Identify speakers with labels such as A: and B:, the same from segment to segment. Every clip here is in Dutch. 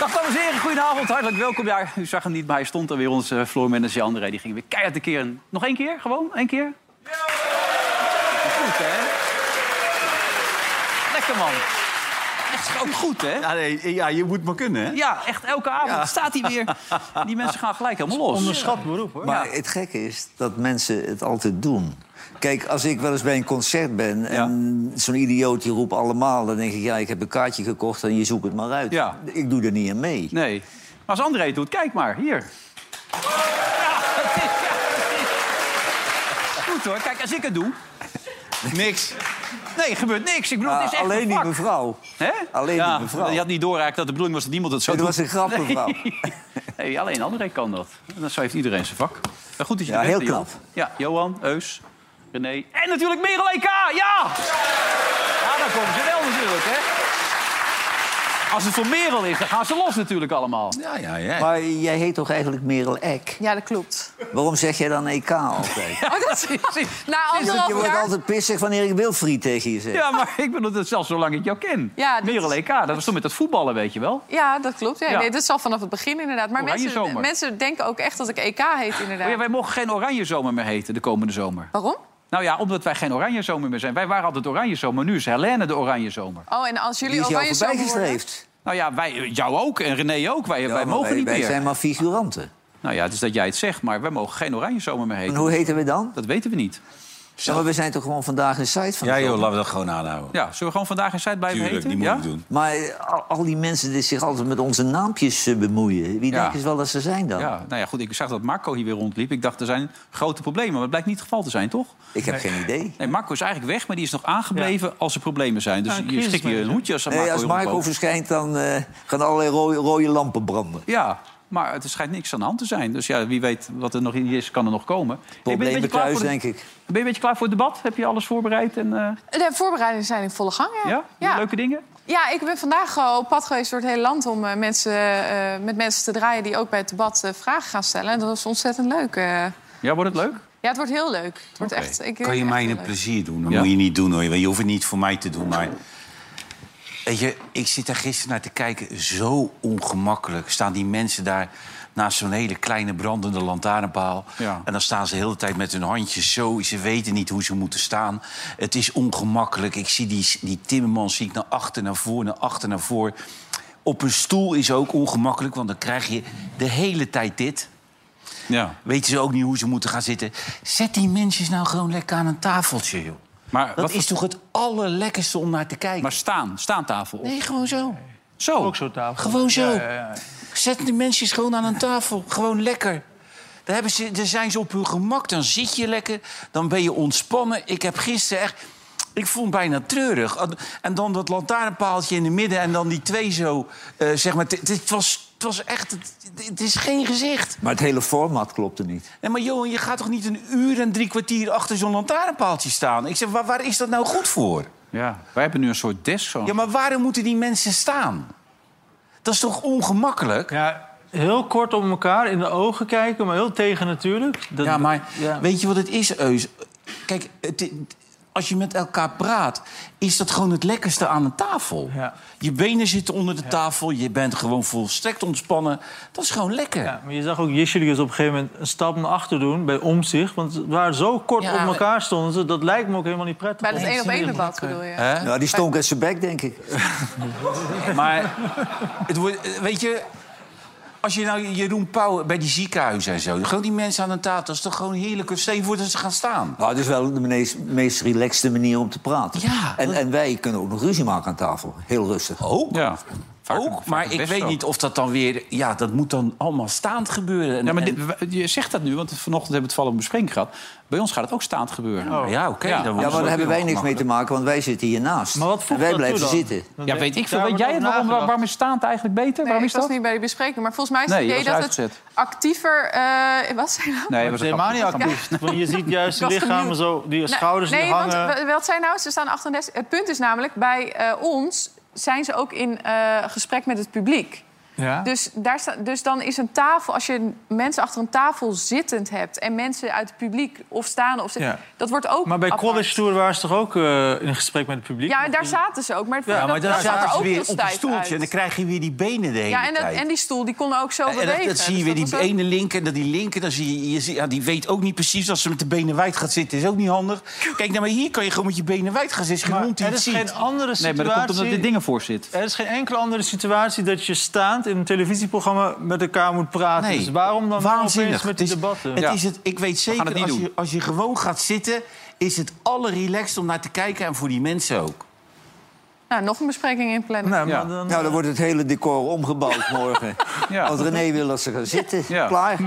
A: Dag dames en heren, goedenavond, hartelijk welkom. Ja, u zag hem niet, maar hij stond er weer, onze floormanager André. Die ging weer keihard de keren. Nog één keer, gewoon, één keer. Goed, hè? Lekker, man. Echt ook goed, hè?
B: Ja, nee, ja, je moet maar kunnen, hè?
A: Ja, echt elke avond staat hij weer. Die mensen gaan gelijk helemaal los. Onderschat beroep, hoor.
C: Maar het gekke is dat mensen het altijd doen. Kijk, als ik wel eens bij een concert ben en zo'n idioot die roept allemaal... dan denk ik, ja, ik heb een kaartje gekocht en je zoekt het maar uit.
A: Ja.
C: Ik doe er niet aan mee.
A: Nee. Maar als André het doet, kijk maar, hier. Ja, het is- ja, het is- Goed, hoor. Kijk, als ik het doe...
B: Niks.
A: Nee, er gebeurt niks. Ik bedoel, het is
C: Ah,
A: echt
C: alleen
A: een
C: die
A: vak.
C: mevrouw.
A: Hè?
C: Alleen
A: ja,
C: die mevrouw.
A: Je had niet doorraakt dat de bedoeling was dat niemand het zou
C: Het
A: doen.
C: was een grap, mevrouw.
A: Nee, alleen André kan dat. Dan zo heeft iedereen zijn vak. Maar goed dat je
C: Ja,
A: er bent,
C: heel
A: Leon.
C: knap.
A: Ja, Johan, Eus, René en natuurlijk Merel EK. Ja! Ja, daar komt ze wel natuurlijk, hè. Als het voor Merel is, dan gaan ze los natuurlijk allemaal.
B: Ja, ja, ja.
C: Maar jij heet toch eigenlijk Merel Eck?
D: Ja, dat klopt.
C: Waarom zeg jij dan EK altijd? Dus
D: Oh, dat Na
C: Je
D: anderhalf
C: wordt
D: jaar...
C: altijd pissig wanneer ik Wilfried tegen je zeg.
A: Ja, maar ik bedoel dat zelfs zolang ik jou ken.
D: Ja, dat-
A: Merel EK, dat was toen met dat voetballen, weet je wel.
D: Ja, dat klopt. Ja,
A: Ja.
D: Nee, dat is al vanaf het begin inderdaad. Maar
A: Oranje zomer.
D: mensen, mensen denken ook echt dat ik EK heet inderdaad.
A: Oh ja, wij mogen geen oranje zomer meer heten de komende zomer.
D: Waarom?
A: Nou ja, omdat wij geen oranje zomer meer zijn. Wij waren altijd oranje zomer, nu is Helene de oranje zomer.
D: Oh, en als jullie
C: Die is jou
D: oranje
C: voorbij
D: zomer worden...
C: gestreefd.
A: Nou ja, wij, jou ook en René ook. Wij, wij
C: Ja, maar
A: mogen niet
C: wij
A: meer.
C: zijn maar figuranten.
A: Nou ja, het is dat jij het zegt, maar wij mogen geen oranje zomer meer
C: En
A: heten.
C: hoe heten we dan?
A: Dat weten we niet.
C: Ja, maar we zijn toch gewoon vandaag een site van
B: Ja,
C: de
B: joh,
C: show?
B: laten we dat gewoon aanhouden.
A: Ja, zullen we gewoon vandaag in site blijven
B: Tuurlijk,
A: heten?
B: die
A: ja?
B: moet ik doen.
C: Maar eh, al, al die mensen die zich altijd met onze naampjes eh, bemoeien... wie
A: Ja.
C: denken ze wel dat ze zijn dan?
A: Ja, nou ja, goed. Ik zag dat Marco hier weer rondliep. Ik dacht, er zijn grote problemen. Maar het blijkt niet het geval te zijn, toch?
C: Ik heb geen idee.
A: Nee, Marco is eigenlijk weg, maar die is nog aangebleven als er problemen zijn.
C: Ah,
A: Dus je stikt je een hoedje als er
C: Nee,
A: Marco
C: als
A: hier
C: Marco
A: rondloopt.
C: verschijnt, dan eh, gaan allerlei rode, rode lampen branden.
A: Ja, maar het schijnt niks aan de hand te zijn. Dus ja, wie weet wat er nog in is, kan er nog komen. Hey, ben je een beetje
C: Problemen
A: klaar
C: thuis,
A: voor de-
C: denk ik.
A: Ben je een beetje klaar voor het debat? Heb je alles voorbereid? En, eh,
D: De voorbereidingen zijn in volle gang, ja.
A: ja?
D: Ja.
A: Leuke dingen?
D: Ja, ik ben vandaag al op pad geweest door het hele land... om eh, mensen, eh, met mensen te draaien die ook bij het debat eh, vragen gaan stellen. En dat was ontzettend leuk. eh.
A: Ja, wordt het leuk?
D: Ja, het wordt heel leuk. Het wordt echt, ik,
B: Kan je
D: echt
B: mij
D: heel
B: een
D: leuk.
B: plezier doen? Dat
A: Ja.
B: moet je niet doen, hoor. Je hoeft het niet voor mij te doen, maar... Weet je, ik zit daar gisteren naar te kijken. Zo ongemakkelijk staan die mensen daar naast zo'n hele kleine brandende lantaarnpaal.
A: Ja.
B: En dan staan ze de hele tijd met hun handjes zo. Ze weten niet hoe ze moeten staan. Het is ongemakkelijk. Ik zie die, die timmerman zie ik naar achter, naar voor, naar achter, naar voor. Op een stoel is ook ongemakkelijk, want dan krijg je de hele tijd dit.
A: Ja.
B: Weten ze ook niet hoe ze moeten gaan zitten. Zet die mensen nou gewoon lekker aan een tafeltje, joh.
A: Maar
B: Dat
A: wat
B: is toch het allerlekkerste om naar te kijken?
A: Maar staan, staantafel. op.
B: Nee, gewoon zo.
A: Zo.
B: Gewoon zo. Zet die mensen gewoon aan een tafel. Gewoon lekker. Daar, hebben ze, daar zijn ze op hun gemak. Dan zit je lekker. Dan ben je ontspannen. Ik heb gisteren echt... Ik vond het bijna treurig. En- En dan dat lantaarnpaaltje in de midden en dan die twee zo, eh, zeg maar... Het- Het was, het was echt... Het, het is geen gezicht.
C: Maar het hele format klopte niet.
B: Nee, maar Johan, je gaat toch niet een uur en drie kwartier achter zo'n lantaarnpaaltje staan? Ik zeg, waar, waar is dat nou goed voor?
A: Ja. Wij hebben nu een soort desk zo.
B: Ja, maar waarom moeten die mensen staan? Dat is toch ongemakkelijk? Ja,
E: Ja, heel kort op elkaar, in de ogen kijken, maar heel tegen natuurlijk. Dat-
B: maar
E: ja.
B: weet je wat het is, Eus? Kijk, het- als je met elkaar praat, is dat gewoon het lekkerste aan een tafel.
E: Ja.
B: Je benen zitten onder de tafel, je bent gewoon volstrekt ontspannen. Dat is gewoon lekker.
E: Ja, maar je zag ook Jisjelius op een gegeven moment een stap naar achter doen bij omzicht. Want ze waren zo kort
B: Ja,
E: op
B: maar-
E: elkaar stonden ze, dat lijkt me ook helemaal niet prettig.
D: Bij dat
E: om-
D: één op één debat bedoel je?
B: Hè?
C: Nou, die stonk uit zijn bek, denk ik.
B: Maar het wordt, eh, weet je, als je nou Jeroen Pauw bij die ziekenhuizen en zo, gewoon die mensen aan de tafel, dat is toch gewoon heerlijk. Stel je voor dat ze gaan staan.
C: Nou, het is wel de meest, meest relaxte manier om te praten.
B: Ja.
C: en, en wij kunnen ook nog ruzie maken aan tafel. Heel rustig.
B: Oh?
A: Ja.
B: Vaak-
F: ook,
B: vaak
F: maar
B: het
F: ik
B: best
F: weet
B: ook.
F: niet of dat dan weer... Ja, dat moet dan allemaal staand gebeuren. En-
A: Ja, maar
F: en-
A: dit- we- je zegt dat nu, want vanochtend hebben we het vallen bespreking gehad. Bij ons gaat het ook staand gebeuren.
F: Oh, ja, oké, dan
C: Ja,
F: wordt-
C: maar daar hebben wij niks mee te maken, want wij zitten hiernaast.
E: Maar wat
C: en
E: voegt
C: wij
E: dat toe
C: blijven
E: dan?
C: zitten.
E: Dan
A: Ja,
E: denk-
A: weet ik veel.
E: daar
A: Weet
E: wordt
A: jij het?
E: over
A: Waarom,
E: nagedacht.
A: waarom is staand eigenlijk beter? waarom
D: ik
A: is
D: was
A: dat?
D: niet bij de bespreking. Maar volgens mij is
A: Nee,
D: het
A: je
D: idee
A: was
D: dat
A: uitgezet.
D: het actiever... eh wat zei je nou?
A: Nee,
B: Dat
A: was
B: is helemaal niet actief.
E: Want je ziet juist de
D: Ik was
E: lichamen
D: benieuwd.
E: zo, die
D: Nee,
E: schouders
D: Nou, nee,
E: die hangen.
D: want wa- wat zij nou, ze staan 38... Het punt is namelijk, bij eh, ons zijn ze ook in eh, gesprek met het publiek.
B: Ja?
D: Dus, daar sta, dus dan is een tafel, als je mensen achter een tafel zittend hebt... en mensen uit het publiek of staan of zitten,
B: Ja.
D: dat wordt ook
E: Maar bij
D: apart.
E: college tour waren ze toch ook eh, in gesprek met het publiek?
D: Ja, en daar zaten ze ook. Maar, het-
B: Ja, maar
D: dat-
B: dan
D: dat zag
B: zaten
D: er
B: ze
D: ook
B: weer
D: heel
B: op een
D: stijf
B: stoeltje.
D: uit.
B: En dan krijg je weer die benen de hele
D: Ja, en, dat,
B: tijd.
D: en die stoel die kon ook zo
B: En
D: bewegen.
B: dat, dat zie je weer,
D: dus dat
B: die
D: was ook-
B: ene linker, dan die linker. Dan zie je, je zie- ja, die weet ook niet precies als ze met de benen wijd gaat zitten. Is ook niet handig. Kijk, nou, maar hier kan je gewoon met je benen wijd gaan zitten. Is geen
E: Maar
B: hond die
E: er
B: het
E: is
B: ziet.
E: geen andere
A: Nee,
E: situatie.
A: maar dat komt omdat dit dingen voor zit.
E: Er is geen enkele andere situatie dat je staand in een televisieprogramma met elkaar moet praten.
B: Nee.
E: Dus waarom dan
B: Waanzinnig.
E: opeens
B: Het
E: met die
B: is,
E: debatten?
B: het
A: Ja.
B: is het, ik weet zeker,
A: het niet
B: als je,
A: doen.
B: als je gewoon gaat zitten... is het allerrelaxed om naar te kijken en voor die mensen ook.
D: Nou, nog een bespreking inplannen.
E: Nou,
A: Ja.
E: maar dan,
C: Nou, dan wordt het hele decor omgebouwd morgen.
A: eh, Ja.
C: Als René wil dat ze gaan zitten,
A: Ja.
C: klaar.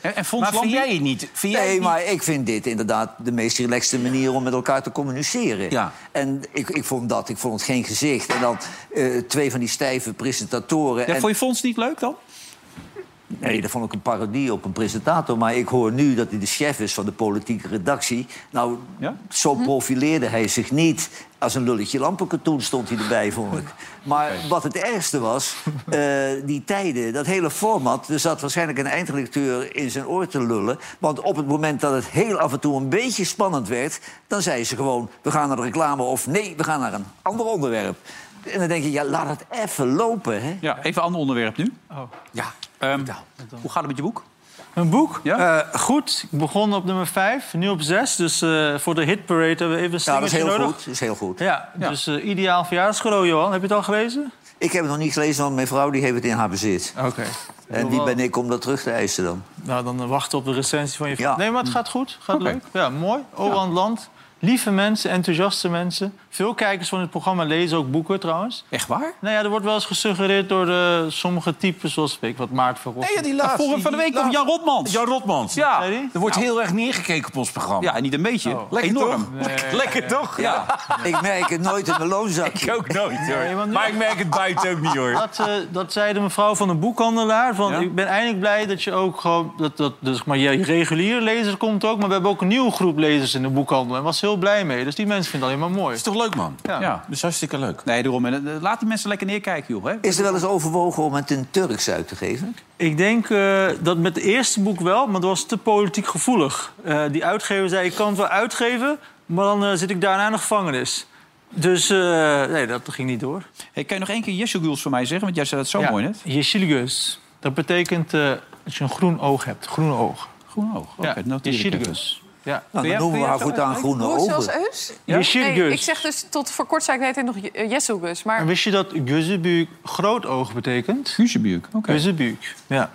A: En, en Fons
B: Maar vind
A: Lambie?
B: Dus jij het niet? Vind jij het
C: Nee,
B: niet?
C: maar ik vind dit inderdaad de meest relaxte manier om met elkaar te communiceren.
B: Ja.
C: En ik, ik vond dat, ik vond het geen gezicht. En dan eh, twee van die stijve presentatoren.
A: Ja,
C: en-
A: vond je Fons niet leuk dan?
C: Nee, dat vond ik een parodie op een presentator. Maar ik hoor nu dat hij de chef is van de politieke redactie. Nou,
A: Ja?
C: zo profileerde hij zich niet. Als een lulletje lampenkatoen stond hij erbij, vond ik. Maar wat het ergste was, eh, die tijden, dat hele format... er zat waarschijnlijk een eindredacteur in zijn oor te lullen. Want op het moment dat het heel af en toe een beetje spannend werd... dan zei ze gewoon, we gaan naar de reclame of nee, we gaan naar een ander onderwerp. En dan denk je, ja, laat het even lopen, hè.
A: Ja, even een ander onderwerp nu.
B: Ja.
A: Ehm, hoe gaat het met je boek?
E: Een boek?
A: Ja.
E: Eh, goed. Ik begon op nummer 5, nu op 6. Dus eh, voor de hitparade hebben we even een
C: Ja, dat is
E: slingertje
C: heel
E: nodig.
C: goed, dat is heel goed.
E: Ja, dus eh, ideaal verjaarscadeau, Johan. Heb je het al gelezen?
C: Ik heb het nog niet gelezen, want mijn vrouw die heeft het in haar bezit.
E: Oké.
C: En wie ben ik om dat terug te eisen dan?
E: Nou, dan eh, wachten op de recensie van je
C: Ja.
E: Nee, maar het gaat goed. Gaat
A: Oké.
E: leuk. Ja, mooi. Oran Land. Lieve mensen, enthousiaste mensen. Veel kijkers van het programma lezen ook boeken trouwens.
A: Echt waar?
E: Nou ja, er wordt wel eens gesuggereerd door eh, sommige typen, zoals ik, wat Maart van Rossum.
B: die
A: Ja, vorige van de week komt Jan Rotmans.
B: Jan Rotmans.
A: Ja.
E: Zei die?
B: Er wordt heel erg neergekeken op ons programma.
A: Ja, en niet een beetje.
B: Lekker
A: Enorm.
B: Oh. toch? Lekker toch?
A: Ja.
C: Ik merk het nooit in mijn loonzakje.
B: Ik ook nooit hoor.
E: Nee, want nu-
B: maar ik merk het buiten ook niet hoor.
E: Dat, eh, dat zei de mevrouw van de boekhandelaar. Van,
A: Ja.
E: Ik ben eindelijk blij dat je ook gewoon... Dat, dat, dus, zeg maar je reguliere lezer komt ook, maar we hebben ook een nieuwe groep lezers in de boekhandel. En was heel blij mee. Dus die mensen vinden het alleen maar mooi.
B: is toch leuk man?
E: Ja.
A: Ja.
B: Dat is hartstikke leuk.
A: Nee, daarom. En, eh, Laat die mensen lekker neerkijken, joh. Hè?
C: Is er wel eens overwogen om het in Turks uit te geven?
E: Ik denk eh, dat met het eerste boek wel, maar dat was te politiek gevoelig. Eh, die uitgever zei, ik kan het wel uitgeven, maar dan eh, zit ik daarna in de gevangenis. Dus eh, nee, dat ging niet door.
A: Hey, kan je nog één keer Yeshuguls voor mij zeggen? Want jij zei dat zo mooi net.
E: Yeshiligus. Dat betekent eh, dat je een groen oog hebt. Groene oog.
A: Groen oog. Oké, nou,
E: Ja,
A: dat noteer ik even.
E: Yeshiligus. Ja.
C: Nou,
A: jij-
C: dan noemen
A: kun
C: we
A: je
C: haar
A: zo
C: voortaan groene
D: Hoe is zelfs
C: ogen.
D: Eus?
E: Yeshiligus.
D: Nee, ik zeg dus tot voor kort zei ik het nog Je- eh, Jesselbus. Maar
E: En wist je dat Gözebuuk groot oog betekent?
A: Guzebuuk. Oké.
E: Gözebuuk, ja.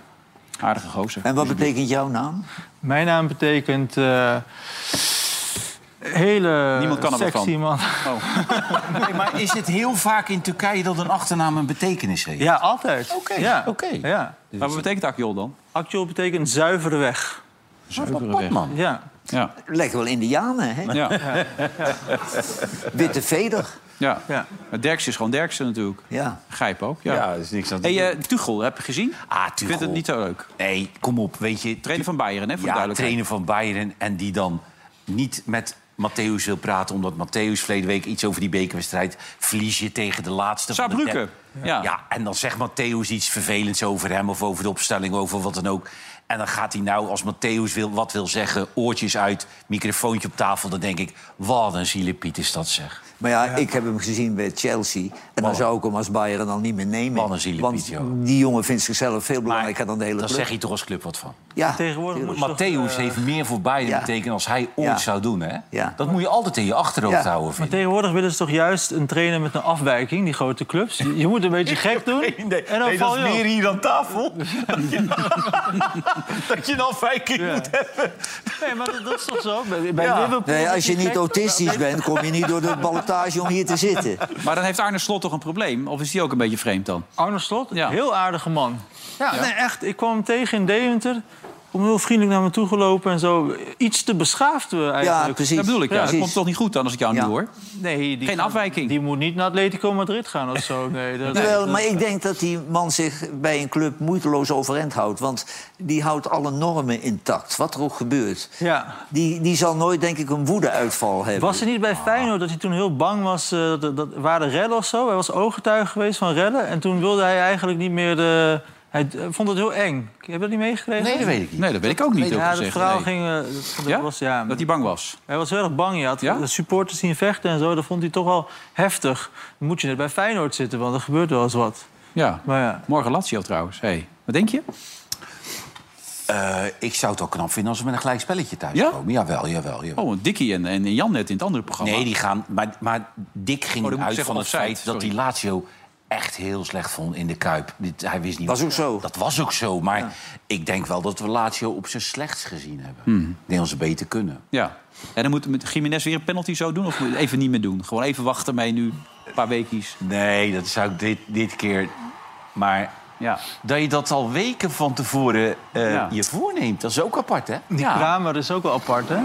A: Aardige gozer.
C: En wat betekent jouw naam?
E: Mijn naam betekent... eh, hele
A: Niemand kan er wat
E: sexy
A: van.
E: man.
B: Nee, maar is het heel vaak in Turkije dat een achternaam een betekenis heeft?
E: Ja, altijd. Oké, ja.
B: oké.
E: Ja.
A: Maar wat betekent Akjol dan?
E: Akjol betekent zuivere weg.
A: Zuivere
B: man.
E: Ja.
A: Ja.
C: Lijkt wel Indianen, hè?
A: Ja.
C: Witte veder.
A: ja.
E: Ja.
A: Maar Derks is gewoon Derksen natuurlijk.
C: Ja.
A: Grijp ook.
B: Ja,
A: Ja.
B: er is niks aan te
A: Hey,
B: doen.
A: eh, Tuchel, heb je gezien?
B: Ah,
A: Ik vind het niet zo leuk.
B: eh, Nee, kom op, weet je.
A: Trainer van Bayern, hè, voor de
B: ja,
A: duidelijkheid.
B: trainer van Bayern en die dan niet met Matthäus wil praten... omdat Matthäus verleden week iets over die bekerwedstrijd... verlies je tegen de laatste
A: Saarbrücken.
B: van de
A: Ja.
B: ja. ja, en dan zegt Matthäus iets vervelends over hem... of over de opstelling, over wat dan ook. En dan gaat hij nou, als Matthäus wil, wat wil zeggen... oortjes uit, microfoontje op tafel. Dan denk ik, wat een zielepiet is dat, zeg.
C: Maar ja, ik heb hem gezien bij Chelsea. En dan zou ik hem als Bayern dan niet meer nemen.
B: Wat een zielig
C: Want
B: liedje, hoor.
C: die jongen vindt zichzelf veel belangrijker dan de hele
B: Dan
C: club.
B: zeg je toch als club wat van.
C: ja,
E: Tegenwoordig moet
C: tuurlijk.
E: je toch,
B: Matthäus
E: eh,
B: heeft meer voor Bayern
C: Ja.
B: betekend als hij ooit
C: Ja.
B: zou doen, hè?
C: Ja.
B: Dat moet je altijd in je achterhoofd
C: Ja.
B: houden, vind
E: Maar
B: ik.
E: tegenwoordig willen ze toch juist een trainer met een afwijking, die grote clubs? Je, je moet een beetje gek doen. en dan val je op.
B: hier aan tafel. dat je dan Viking moet hebben.
E: Nee, maar dat, dat is toch zo? Bij, bij
B: Ja.
E: Liverpool...
C: Nee, als je
E: dat
C: niet
E: gek-
C: autistisch bent, kom je niet door de ballotage om hier te zitten.
A: Maar dan heeft Arne Slot toch een probleem? Of is die ook een beetje vreemd dan?
E: Arne Slot,
A: Ja.
E: heel aardige man. Ja, Nee, echt. Ik kwam hem tegen in Deventer. Om heel vriendelijk naar me toe gelopen en zo. Iets te beschaafd eh, eigenlijk.
C: Ja, precies.
A: Dat bedoel ik, ja. Dat
C: Precies.
A: komt toch niet goed dan als ik jou nu
C: Ja.
A: hoor?
E: Nee, die
A: Geen
E: kan-
A: afwijking.
E: Die moet niet naar Atletico Madrid gaan of zo. Nee, dat,
C: Jawel,
E: dat-
C: maar ik denk dat die man zich bij een club moeiteloos overeind houdt. Want die houdt alle normen intact, wat er ook gebeurt.
E: Ja.
C: Die, die zal nooit, denk ik, een woedeuitval hebben.
E: Was het niet bij Feyenoord dat hij toen heel bang was? eh, dat, dat waren rellen of zo? Hij was ooggetuige geweest van rellen. En toen wilde hij eigenlijk niet meer... De, hij eh, vond het heel eng. Heb je dat niet meegekregen?
A: dat weet ik niet. Nee, dat weet ik ook niet. eerlijk
E: Ja, dat
A: gezegd,
E: verhaal
A: nee.
E: ging... eh, dat, dat
A: Ja?
E: was, ja,
A: Dat hij bang was.
E: Hij was heel erg bang. Je had
A: Ja?
E: de supporters zien vechten en zo. Dat vond hij toch wel heftig. Dan moet je net bij Feyenoord zitten, want er gebeurt wel eens wat.
A: Ja.
E: Maar ja.
A: Morgen Lazio trouwens. Hey. Wat denk je?
B: Eh, ik zou het ook knap vinden als we met een gelijk spelletje thuis
A: Ja?
B: komen. Jawel, jawel, jawel.
A: Oh, Dikkie en, en Jan net in het andere programma.
B: Nee, die gaan. Maar, maar Dick ging
A: Oh, dan moet ik
B: uit
A: zeggen
B: van het
A: offside,
B: feit dat
A: sorry.
B: die Lazio echt heel slecht vond in de Kuip. Dit- Hij wist niet
C: Was
B: wat-
C: ook zo.
B: Dat was ook zo. Maar ik denk wel dat we Lazio op zijn slechts gezien hebben.
A: Hmm.
B: Ik denk dat ze beter kunnen.
A: Ja. En dan moet met Jiménez weer een penalty zo doen? Of moet je het even niet meer doen? Gewoon even wachten mee nu. Een paar weekjes.
B: Nee, dat zou ik dit, dit keer... Maar
A: Ja.
B: dat je dat al weken van tevoren eh,
A: Ja.
B: je voorneemt, dat is ook apart, hè?
E: Die
A: Ah.
E: Kramer is ook wel apart, hè?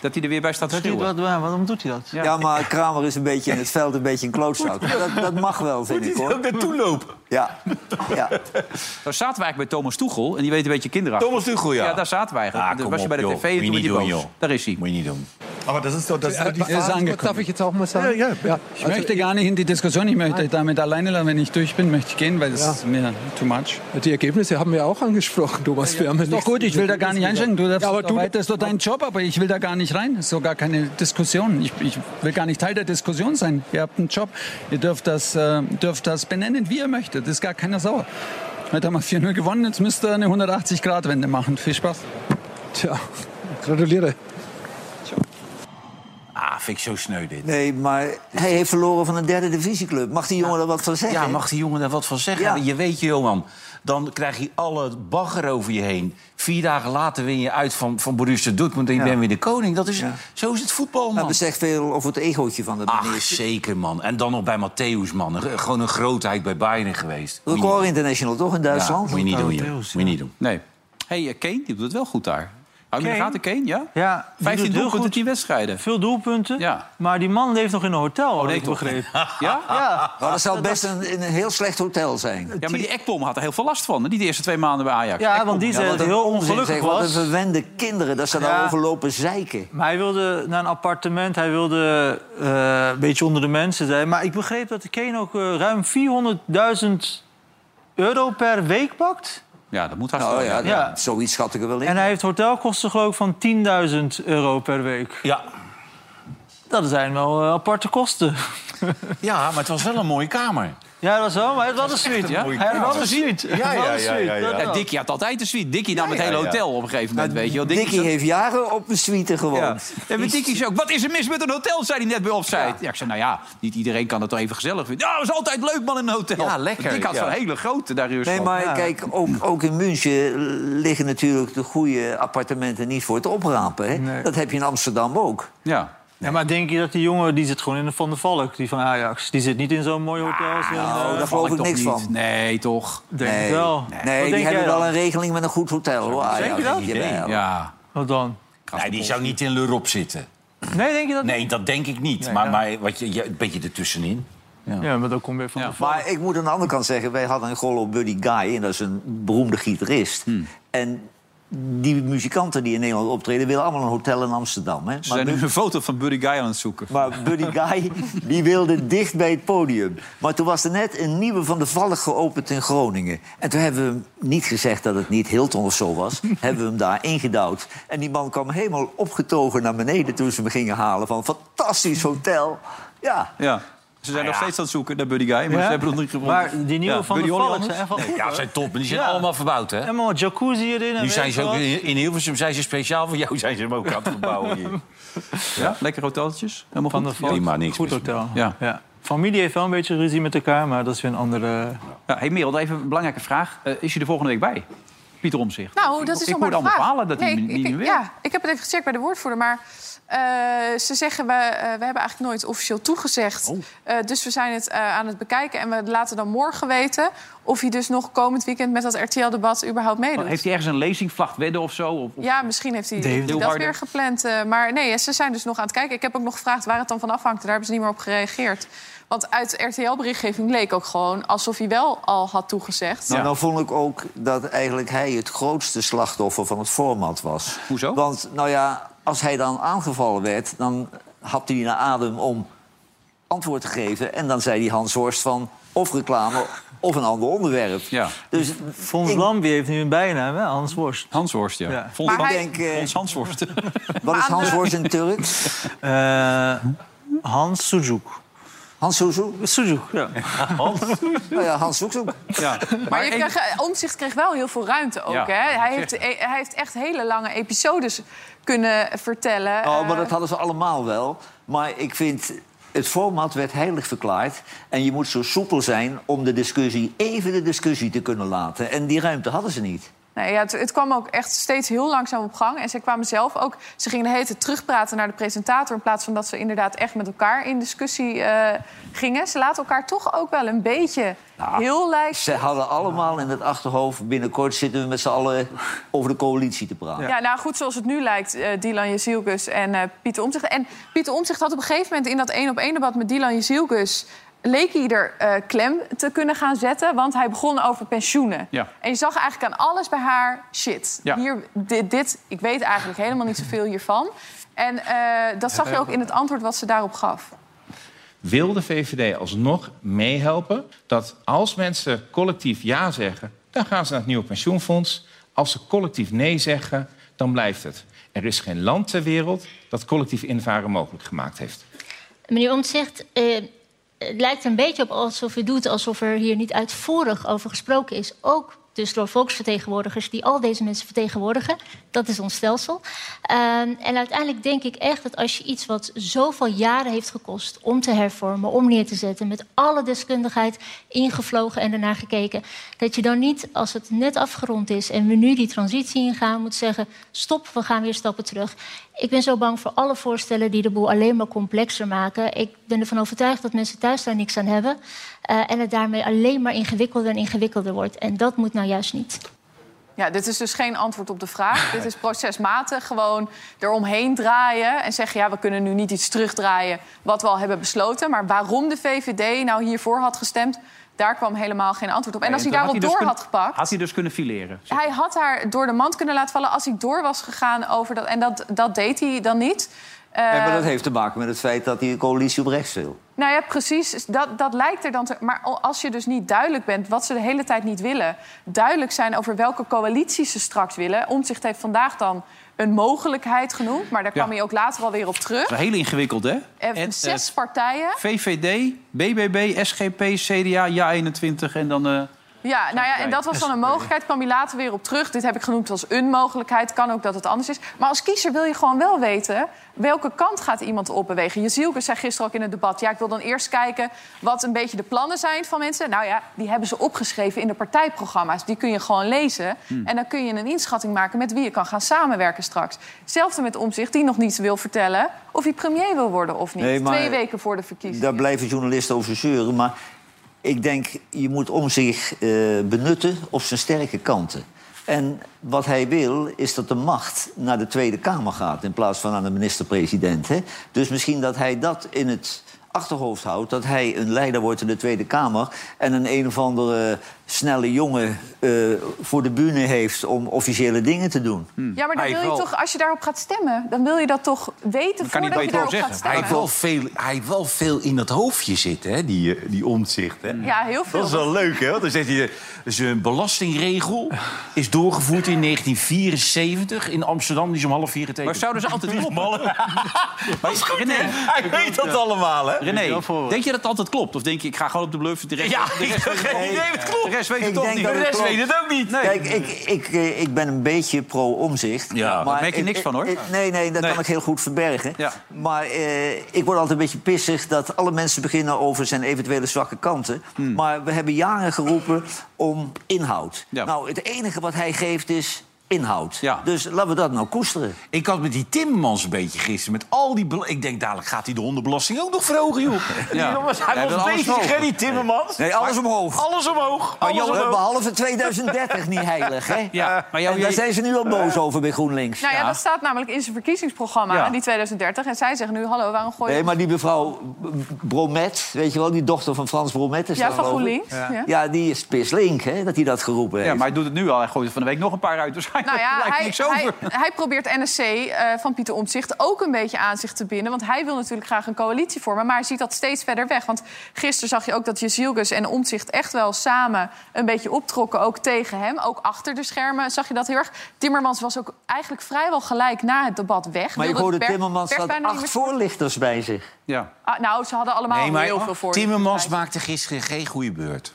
A: Dat hij er weer bij staat te
E: Dat hij-
A: schreeuwen.
E: wat, waar- waarom doet hij dat?
A: Ja.
C: Ja, maar Kramer is een beetje in het veld een beetje een klootzak. Dat, dat mag wel, vind ik, hoor.
B: naartoe lopen.
C: Ja. ja.
A: Daar zaten we eigenlijk bij Thomas Toegel. En die weet een beetje kinderachtig.
B: Thomas Tuchel, ja.
A: Ja, daar zaten we eigenlijk.
B: Ah,
A: Daar
B: kom
A: was je
B: op,
A: bij de
B: joh.
A: tv en
B: Moet je
A: toen werd
B: niet
A: hij
B: doen,
A: boos.
B: joh.
A: Daar is hij.
B: Moet je niet doen.
G: Aber das ist doch das
H: Er
G: die
H: Äh, ist angekündigt. Darf ich jetzt auch mal sagen?
G: Ja, Also ja, ja.
H: Ich möchte gar nicht in die Diskussion, ich möchte damit alleine lassen. Wenn ich durch bin, möchte ich gehen, weil es ist mir too much.
G: Die Ergebnisse haben wir auch angesprochen, Thomas. Wir haben ja
H: Ist doch
G: nichts-
H: gut, ich will da gar nicht einsteigen. Du darfst,
G: ja, aber
H: du
G: du,
H: arbeitest doch deinen Job, aber ich will da gar nicht rein. Ist doch gar keine Diskussion. Ich, ich will gar nicht Teil der Diskussion sein. Ihr habt einen Job. Ihr dürft das, äh, dürft das benennen, wie ihr möchtet. Ist gar keiner sauer. Heute haben wir 4-0 gewonnen, jetzt müsst ihr eine 180-Grad-Wende machen. Viel Spaß.
G: Tja, gratuliere.
B: Ah, vind ik zo sneu dit.
C: Nee, maar hij heeft verloren van een derde divisieclub. Mag die jongen daar wat van zeggen?
B: Ja, mag die jongen daar wat van zeggen?
C: Ja.
B: Je weet, Johan, dan krijg je alle bagger over je heen. Vier dagen later win je uit van, van Borussia Dortmund en je bent weer de koning. Dat is, Zo is het voetbal,
C: Dat
B: man.
C: zegt veel over het egootje van de
B: Ach,
C: meneer.
B: zeker, man. En dan nog bij Matthäus, man. Een- Gewoon een grootheid bij Bayern geweest. Moet je
C: Record
B: niet-
C: International, toch, in
B: Ja,
C: Duitsland?
B: moet je niet doen, joh. Moet je niet doen.
A: Nee. Hé, hey, eh, Kane, die doet het wel goed daar. Hou je in de
E: Kane?
A: gaten, Kane? Ja?
E: Ja, die
A: 15
E: doet heel
A: doelpunten,
E: goed.
A: 10 wedstrijden.
E: Veel doelpunten.
A: Ja.
E: Maar die man leeft nog in een hotel, had
A: nee,
E: ik
A: toch?
E: begrepen.
A: Ja?
E: Ja.
C: Maar dat zou best een, in een heel slecht hotel zijn.
A: Ja, maar die Ekpom had er heel veel last van. hè, Die de eerste twee maanden bij Ajax.
E: ja, want die zei
C: Ja,
E: dat
C: wat
E: hij
C: een
E: heel
C: onzin,
E: ongelukkig
C: zeg. Wat een
E: was.
C: verwende kinderen, dat ze
E: Ja.
C: daarover lopen zeiken.
E: Maar hij wilde naar een appartement, hij wilde eh, een beetje onder de mensen zijn. Maar ik begreep dat de Kane ook eh, ruim 400.000 euro per week pakt.
A: Ja, dat
B: Oh,
A: moet
C: Nou
A: hartstikke
C: ja,
A: wel, ja.
E: Ja.
C: zoiets schat ik er wel in.
E: En hij heeft hotelkosten geloof ik van 10.000 euro per week.
B: Ja.
E: Dat zijn wel eh, aparte kosten.
B: ja, maar het was wel een mooie kamer.
E: Ja, dat is wel, maar het was een suite.
A: ja?
E: Hij had wel een suite. Hij had wel een suite, dat
A: Ja,
E: wel.
A: Dikkie Eh, had altijd een suite. Dikkie nam het hele hotel op een gegeven moment, weet je wel.
C: Dickie
A: zat-
C: heeft jaren op een suite
A: Ja.
C: gewoond.
A: En met Dikkie zei dus ook, wat is er mis met een hotel, zei hij net bij opzij. Ja. ik zei, nou ja, niet iedereen kan het toch even gezellig vinden. Ja, dat is altijd leuk, man, in een hotel.
B: Ja, lekker,
A: Dikkie had
B: ja.
A: zo'n hele grote daar in
C: Nee,
A: Rusland.
C: maar kijk, ook, ook in München liggen natuurlijk de goede appartementen niet voor het oprapen. Hè? Dat heb je in Amsterdam ook.
A: Ja.
E: Ja, maar denk je dat die jongen, die zit gewoon in de Van der Valk, die van Ajax. Die zit niet in zo'n mooi hotel. als in,
C: nou,
E: eh,
C: daar geloof ik
A: Toch
C: niks
A: niet.
C: van.
A: Nee, toch.
E: denk ik wel.
C: Nee,
E: Wat denk
C: die
E: jij
C: hebben
E: dan?
C: wel een regeling met een goed hotel. Hoor. Ah, Ajax.
E: je dat?
C: Jawel.
A: Ja.
E: Wat dan?
B: Nee, die zou niet in Lurop zitten.
E: Nee, denk je dat
B: Nee, dat denk ik niet. maar,
E: ja.
B: maar wat je, je, een beetje ertussenin.
E: Ja, maar dan kom je van
A: Ja.
E: de Valk.
C: Maar ik moet aan de andere kant zeggen, wij hadden een gol op Buddy Guy, en dat is een beroemde gitarist.
A: Hmm.
C: En die muzikanten die in Nederland optreden, willen allemaal een hotel in Amstam. Hè?
A: Ze
C: Maar,
A: zijn nu
C: Bu-
A: een foto van Buddy Guy aan het zoeken.
C: maar Buddy Guy die wilde dicht bij het podium. Maar toen was er net een nieuwe van de Valk geopend in Groningen. En toen hebben we hem niet gezegd dat het niet Hilton of zo was, hebben we hem daar ingedouwd. En die man kwam helemaal opgetogen naar beneden toen ze hem gingen halen van fantastisch hotel. Ja,
A: Ja. Ze zijn nog steeds aan het zoeken naar Buddy Guy, maar
E: Ja?
A: ze hebben nog niet gevonden.
E: Maar die nieuwe
A: Ja,
E: van
A: Buddy
E: de Valk
A: Hollanders?
E: zijn echt wel goed.
B: Ja, ze
E: hoor.
B: zijn top. Maar die zijn
E: Ja.
B: allemaal verbouwd, hè?
E: Helemaal jacuzzi erin. en
B: Nu
E: weet
B: zijn
E: ik
B: ze ook
E: wat.
B: in in Hilversum zijn ze speciaal voor jou zijn ze hem ook aan het verbouwen hier.
A: Ja, lekker hoteltjes. Helemaal
E: Van de
A: goed.
E: Valk.
B: Prima, niks
E: Goed
B: mis mee.
E: hotel.
A: Ja.
E: Familie heeft wel een beetje ruzie met elkaar, maar dat is weer een andere...
A: Ja, hey Merel, even een belangrijke vraag. Eh, is je er volgende week bij? Pieter Omzicht.
D: Nou, dat is
A: ik
D: nog maar
A: hoorde
D: de
A: allemaal
D: vraag.
A: verhalen dat hij
D: Nee,
A: niet
D: ik,
A: meer wil.
D: Ja, ik heb het even gecheckt bij de woordvoerder, maar eh, ze zeggen we, eh, we hebben eigenlijk nooit officieel toegezegd.
A: Oh.
D: Eh, dus we zijn het eh, aan het bekijken en we laten dan morgen weten of hij dus nog komend weekend met dat RTL-debat überhaupt meedoet.
A: Oh, Heeft hij ergens een lezing, vlachtwedden of zo? Of, of-
D: Ja, misschien heeft hij heeft hij dat
A: Leeuwarden.
D: weer gepland. eh, maar nee, ze zijn dus nog aan het kijken. Ik heb ook nog gevraagd waar het dan van afhangt. Daar hebben ze niet meer op gereageerd. Want uit RTL-berichtgeving leek ook gewoon alsof hij wel al had toegezegd.
C: Nou, nou vond ik ook dat eigenlijk hij het grootste slachtoffer van het format was.
A: Hoezo?
C: Want, nou ja, als hij dan aangevallen werd... dan hapte hij naar adem om antwoord te geven. En dan zei die Hans Horst van of reclame of een ander onderwerp.
A: Ja.
C: Dus
E: Fons
C: ik-
E: Lambie heeft nu een bijnaam, hè? Hans Worst.
A: Hanshorst, ja.
E: Ja.
A: Vol-
D: Maar
A: Hans-
D: hij-
C: denk, eh,
A: Hans Hanshorst.
C: wat is Hans Horst in Turks?
E: Eh, Hans Sujuk.
C: Hans Soezoek?
E: Sujuk, ja.
C: Nou ja, Hans Soezoek.
A: ja.
D: Maar, je kreeg, Omzicht kreeg wel heel veel ruimte ook.
A: Ja,
D: hè?
A: dat
D: Hij, heeft, e,
A: zeg
D: hij heeft echt hele lange episodes kunnen vertellen.
C: Oh,
D: Eh,
C: maar dat hadden ze allemaal wel. Maar ik vind, het format werd heilig verklaard. En je moet zo soepel zijn om de discussie, even de discussie te kunnen laten. En die ruimte hadden ze niet.
D: nee, ja, het, het kwam ook echt steeds heel langzaam op gang. En ze kwamen zelf ook... Ze gingen de hele tijd terugpraten naar de presentator... in plaats van dat ze inderdaad echt met elkaar in discussie eh, gingen. Ze laten elkaar toch ook wel een beetje
A: Nou.
D: heel lijken.
C: Ze hadden allemaal in het achterhoofd... binnenkort zitten we met z'n allen over de coalitie te praten.
D: Ja, nou goed, zoals het nu lijkt, eh, Dylan Jezielkus en eh, Pieter Omtzigt. En Pieter Omtzigt had op een gegeven moment in dat één-op-één debat met Dylan Jezielkus... leek hij er eh, klem te kunnen gaan zetten, want hij begon over pensioenen.
A: Ja.
D: En je zag eigenlijk aan alles bij haar, shit,
A: Ja.
D: hier, dit, dit, ik weet eigenlijk helemaal niet zoveel hiervan. En eh, dat zag je ook in het antwoord wat ze daarop gaf.
I: Wil de VVD alsnog meehelpen dat als mensen collectief ja zeggen, dan gaan ze naar het nieuwe pensioenfonds. Als ze collectief nee zeggen, dan blijft het. Er is geen land ter wereld dat collectief invaren mogelijk gemaakt heeft.
J: Meneer Omtzigt, eh, het lijkt een beetje op alsof u doet alsof er hier niet uitvoerig over gesproken is. Ook dus door volksvertegenwoordigers die al deze mensen vertegenwoordigen. Dat is ons stelsel. Eh, en uiteindelijk denk ik echt dat als je iets wat zoveel jaren heeft gekost om te hervormen, om neer te zetten, met alle deskundigheid ingevlogen en daarna gekeken, dat je dan niet als het net afgerond is en we nu die transitie ingaan, moet zeggen: stop, we gaan weer stappen terug. Ik ben zo bang voor alle voorstellen die de boel alleen maar complexer maken. Ik ben ervan overtuigd dat mensen thuis daar niks aan hebben. eh, en het daarmee alleen maar ingewikkelder en ingewikkelder wordt. En dat moet nou juist niet.
D: Ja, dit is dus geen antwoord op de vraag. dit is procesmatig gewoon eromheen draaien en zeggen... ja, we kunnen nu niet iets terugdraaien wat we al hebben besloten. Maar waarom de VVD nou hiervoor had gestemd... daar kwam helemaal geen antwoord op. En als hij
A: toen had
D: daarop
A: dus
D: door
A: kun-
D: had gepakt...
A: Had hij dus kunnen fileren.
D: Hij had haar door de mand kunnen laten vallen als hij door was gegaan over dat. En dat, dat deed hij dan niet. Eh,
C: Nee, maar dat heeft te maken met het feit dat die coalitie op rechts wil.
D: nou ja, precies. Dat, dat lijkt er dan te... Maar als je dus niet duidelijk bent wat ze de hele tijd niet willen... duidelijk zijn over welke coalities ze straks willen... Omtzigt heeft vandaag dan een mogelijkheid genoemd... maar daar kwam
A: Ja.
D: hij ook later alweer op terug.
A: Dat is heel ingewikkeld, hè?
D: Eh,
A: En, eh,
D: Zes partijen.
A: VVD, BBB, SGP, CDA, JA21 en dan... eh,
D: Ja, nou ja, en dat was dan een mogelijkheid. Kwam hij later weer op terug. Dit heb ik genoemd als een mogelijkheid. Kan ook dat het anders is. Maar als kiezer wil je gewoon wel weten... welke kant gaat iemand opbewegen. Jezielke zei gisteren ook in het debat... ja, ik wil dan eerst kijken wat een beetje de plannen zijn van mensen. Nou ja, die hebben ze opgeschreven in de partijprogramma's. Die kun je gewoon lezen.
C: Hmm.
D: En dan kun je een inschatting maken met wie je kan gaan samenwerken straks. Hetzelfde met Omzicht, die nog niet wil vertellen... of hij premier wil worden of niet.
C: Nee, maar-
D: Twee weken voor de verkiezingen.
C: Daar blijven journalisten over zeuren. Maar ik denk, je moet om zich eh, benutten op zijn sterke kanten. En wat hij wil, is dat de macht naar de Tweede Kamer gaat... in plaats van aan de minister-president. hè. Dus misschien dat hij dat in het achterhoofd houdt... dat hij een leider wordt in de Tweede Kamer... en een een of andere snelle jongen eh, voor de bühne heeft... om officiële dingen te doen.
D: Ja, maar dan
B: Hij
D: wil je
B: wel.
D: toch, als je daarop gaat stemmen, dan wil je dat toch weten
A: kan niet
D: voordat je
A: beter
D: daarop gaat
A: zeggen.
B: Hij
D: stemmen.
B: heeft wel veel, hij heeft wel veel in dat hoofdje zitten, hè, die, eh, die omzicht. Hè?
D: Ja, heel veel.
B: Dat is wel leuk, hè? want Dan zegt hij, eh, zijn belastingregel is doorgevoerd in 1974 in Amsterdam. Die is om half vier
A: Maar
B: getekend.
A: zouden ze dus altijd kloppen? dat is goed,
B: Hij weet dat allemaal, hè?
A: René, denk je dat het altijd klopt? Of denk je, ik ga gewoon op de bluff de rest...
B: Ja,
A: de rest
B: ik heb geen idee, het klopt.
A: De rest weet het
C: Ik
A: toch
C: denk
A: niet.
C: dat
A: De rest
C: klopt.
A: weet het ook niet. Nee.
C: Kijk, ik, ik, eh, ik ben een beetje pro-omzicht.
A: Ja, daar merk je
C: ik-
A: niks van, hoor.
C: ik- nee, nee, dat
A: Nee.
C: kan ik heel goed verbergen.
A: Ja.
C: Maar eh, ik word altijd een beetje pissig dat alle mensen beginnen over zijn eventuele zwakke kanten.
A: Hmm.
C: Maar we hebben jaren geroepen om inhoud.
B: Ja.
C: Nou, het enige wat hij geeft is inhoud.
B: Ja.
C: Dus laten we dat nou koesteren.
B: Ik had met die Timmermans een beetje gisteren. Met al die belo- ik denk dadelijk gaat hij de hondenbelasting ook nog verhogen, joh. Die jongens, hij
A: Hij
B: was
A: wil alles
B: bezig,
A: verhogen.
B: hè, die Timmermans.
C: Nee, alles omhoog.
B: Alles omhoog. Alles
C: Alles
B: omhoog.
C: Behalve 2030 niet heilig, hè?
A: Ja, maar jou-
C: en daar
A: jij-
C: zijn ze nu al boos over bij GroenLinks.
D: Nou ja, dat staat namelijk in zijn verkiezingsprogramma,
A: Ja.
D: die 2030. En zij zeggen nu, hallo, waarom gooi je...
C: Nee, maar die mevrouw B- Bromet, weet je wel, die dochter van Frans Bromet is
D: ja,
C: daar
D: van
C: geloof ik.
D: GroenLinks. Ja.
C: Ja, die is pislink, hè, dat hij dat geroepen heeft.
A: Ja, maar hij doet het nu al. Hij gooit er van de week nog een paar uit. Dus Waarschijnlijk
D: Nou ja,
A: blijkt
D: hij,
A: niks over.
D: hij, hij probeert NSC eh, van Pieter Omtzigt ook een beetje aan zich te binden. Want hij wil natuurlijk graag een coalitie vormen. Maar hij ziet dat steeds verder weg. Want gisteren zag je ook dat Jezielgus en Omtzigt echt wel samen een beetje optrokken. Ook tegen hem. Ook achter de schermen zag je dat heel erg. Timmermans was ook eigenlijk vrijwel gelijk na het debat weg.
C: Maar ik
D: Wilde
C: hoorde
D: het per-
C: Timmermans
D: pers
C: had
D: bijna niet meer-
C: acht voorlichters bij zich.
A: Ja.
D: Ah, nou, ze hadden allemaal
B: Nee, maar
D: heel veel voor.
B: Timmermans maakte gisteren geen goede beurt.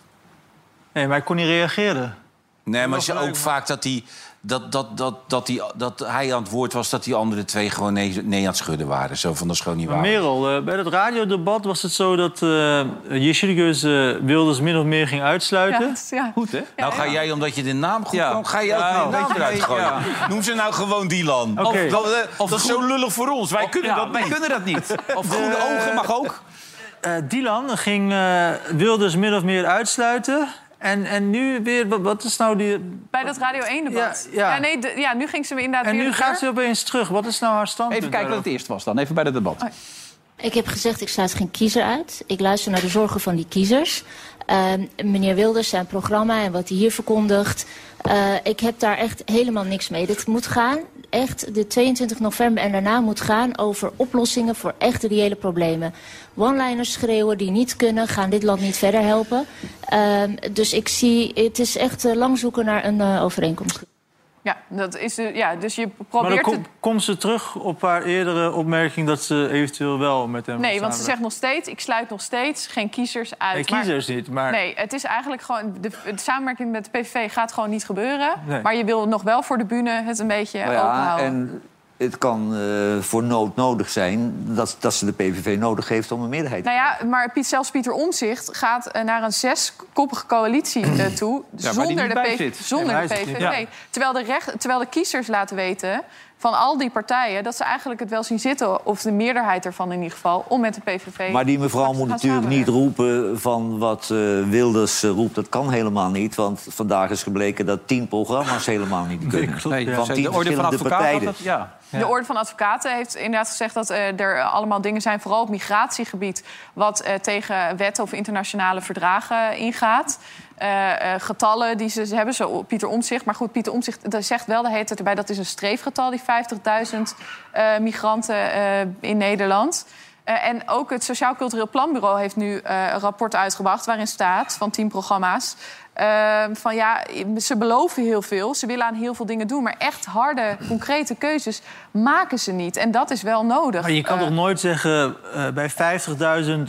E: Nee, maar ik kon niet reageren.
B: Nee, maar ze ook vaak dat hij, dat, dat, dat, dat, hij, dat hij aan het woord was... dat die andere twee gewoon nee, nee aan het schudden waren. Zo van, dat is gewoon niet
E: Maar
B: waar.
E: Merel, eh, bij dat radiodebat was het zo dat eh Jeshirikus Wilders min of meer ging
D: Ja,
E: uitsluiten.
D: dat- ja.
A: Goed, hè?
B: Nou, ga jij, omdat je de naam goed
A: Ja.
B: kan, ga jij ook
A: Ja,
B: weer
A: een
B: een naam
A: beetje
B: eruit
A: mee,
B: gooien.
A: ja.
B: Noem ze nou gewoon Dylan.
E: Oké.
B: Of, dat, eh, dat is zo lullig voor ons. Wij kunnen
A: Ja,
B: dat
A: wij
B: niet.
A: kunnen dat niet. Of goede ogen mag ook.
E: Eh, Dylan ging eh, Wilders min of meer uitsluiten. En, en nu weer, wat, wat is nou die...
D: Bij dat Radio 1-debat.
E: Ja, ja.
D: nee, de- ja, nu ging ze weer inderdaad
E: En
D: weer
E: nu
D: de
E: gaat
D: deur-
E: ze opeens terug. Wat is nou haar standpunt?
A: Even kijken wat het eerst was dan. Even bij het debat.
J: Ik heb gezegd, ik sluit geen kiezer uit. Ik luister naar de zorgen van die kiezers. Ehm, meneer Wilders, zijn programma en wat hij hier verkondigt. Eh, ik heb daar echt helemaal niks mee. Dit moet gaan, echt de 22 november en daarna moet gaan over oplossingen voor echt reële problemen. One-liners schreeuwen die niet kunnen, gaan dit land niet verder helpen. Ehm, dus ik zie, het is echt eh, lang zoeken naar een eh, overeenkomst.
D: Ja, dat is de, ja, dus je
E: Maar dan
D: probeert het...
E: kom- komt ze terug op haar eerdere opmerking... dat ze eventueel wel met hem
D: Nee,
E: wil
D: want ze zegt nog steeds, ik sluit nog steeds geen kiezers uit.
E: Nee,
D: Maar-
E: kiezers niet, maar...
D: Nee, het is eigenlijk gewoon... De, de samenwerking met de PVV gaat gewoon niet gebeuren.
E: Nee.
D: Maar je wil nog wel voor de bühne het een beetje
C: Nou ja,
D: openhouden.
C: en het kan eh, voor nood nodig zijn dat, dat ze de PVV nodig heeft om een meerderheid te
D: Nou ja, maar Piet, zelfs Pieter Omzicht gaat eh, naar een zeskoppige coalitie eh, toe...
A: die
D: zonder,
A: niet
D: de,
A: bij
D: PV
A: zit.
D: zonder
E: Nee, maar
D: de
E: hij zit niet.
D: PVV. Terwijl, de recht, terwijl de kiezers laten weten van al die partijen... dat ze eigenlijk het wel zien zitten, of de meerderheid ervan in ieder geval... om met de PVV...
C: Maar die mevrouw
D: straks
C: moet
D: te gaan
C: natuurlijk niet
D: samenwerken.
C: roepen van wat eh, Wilders eh, roept. Dat kan helemaal niet, want vandaag is gebleken dat tien programma's helemaal niet kunnen.
A: Nee,
C: van
A: zei
C: tien verschillende
A: had
C: partijen.
A: dat- Ja.
D: De Orde van Advocaten heeft inderdaad gezegd dat eh, er allemaal dingen zijn, vooral op migratiegebied, wat eh, tegen wetten of internationale verdragen ingaat. Eh, eh, getallen die ze ze hebben, zo Pieter Omzicht. Maar goed, Pieter Omzicht zegt wel de hele tijd erbij dat is een streefgetal, die 50.000 eh, migranten eh, in Nederland. Eh, en ook het Sociaal Cultureel Planbureau heeft nu eh, een rapport uitgebracht... waarin staat, van tien programma's... eh, van ja, ze beloven heel veel, ze willen aan heel veel dingen doen... maar echt harde, concrete keuzes maken ze niet. En dat is wel nodig.
E: Maar je kan
D: Eh,
E: toch nooit zeggen, eh, bij 50.000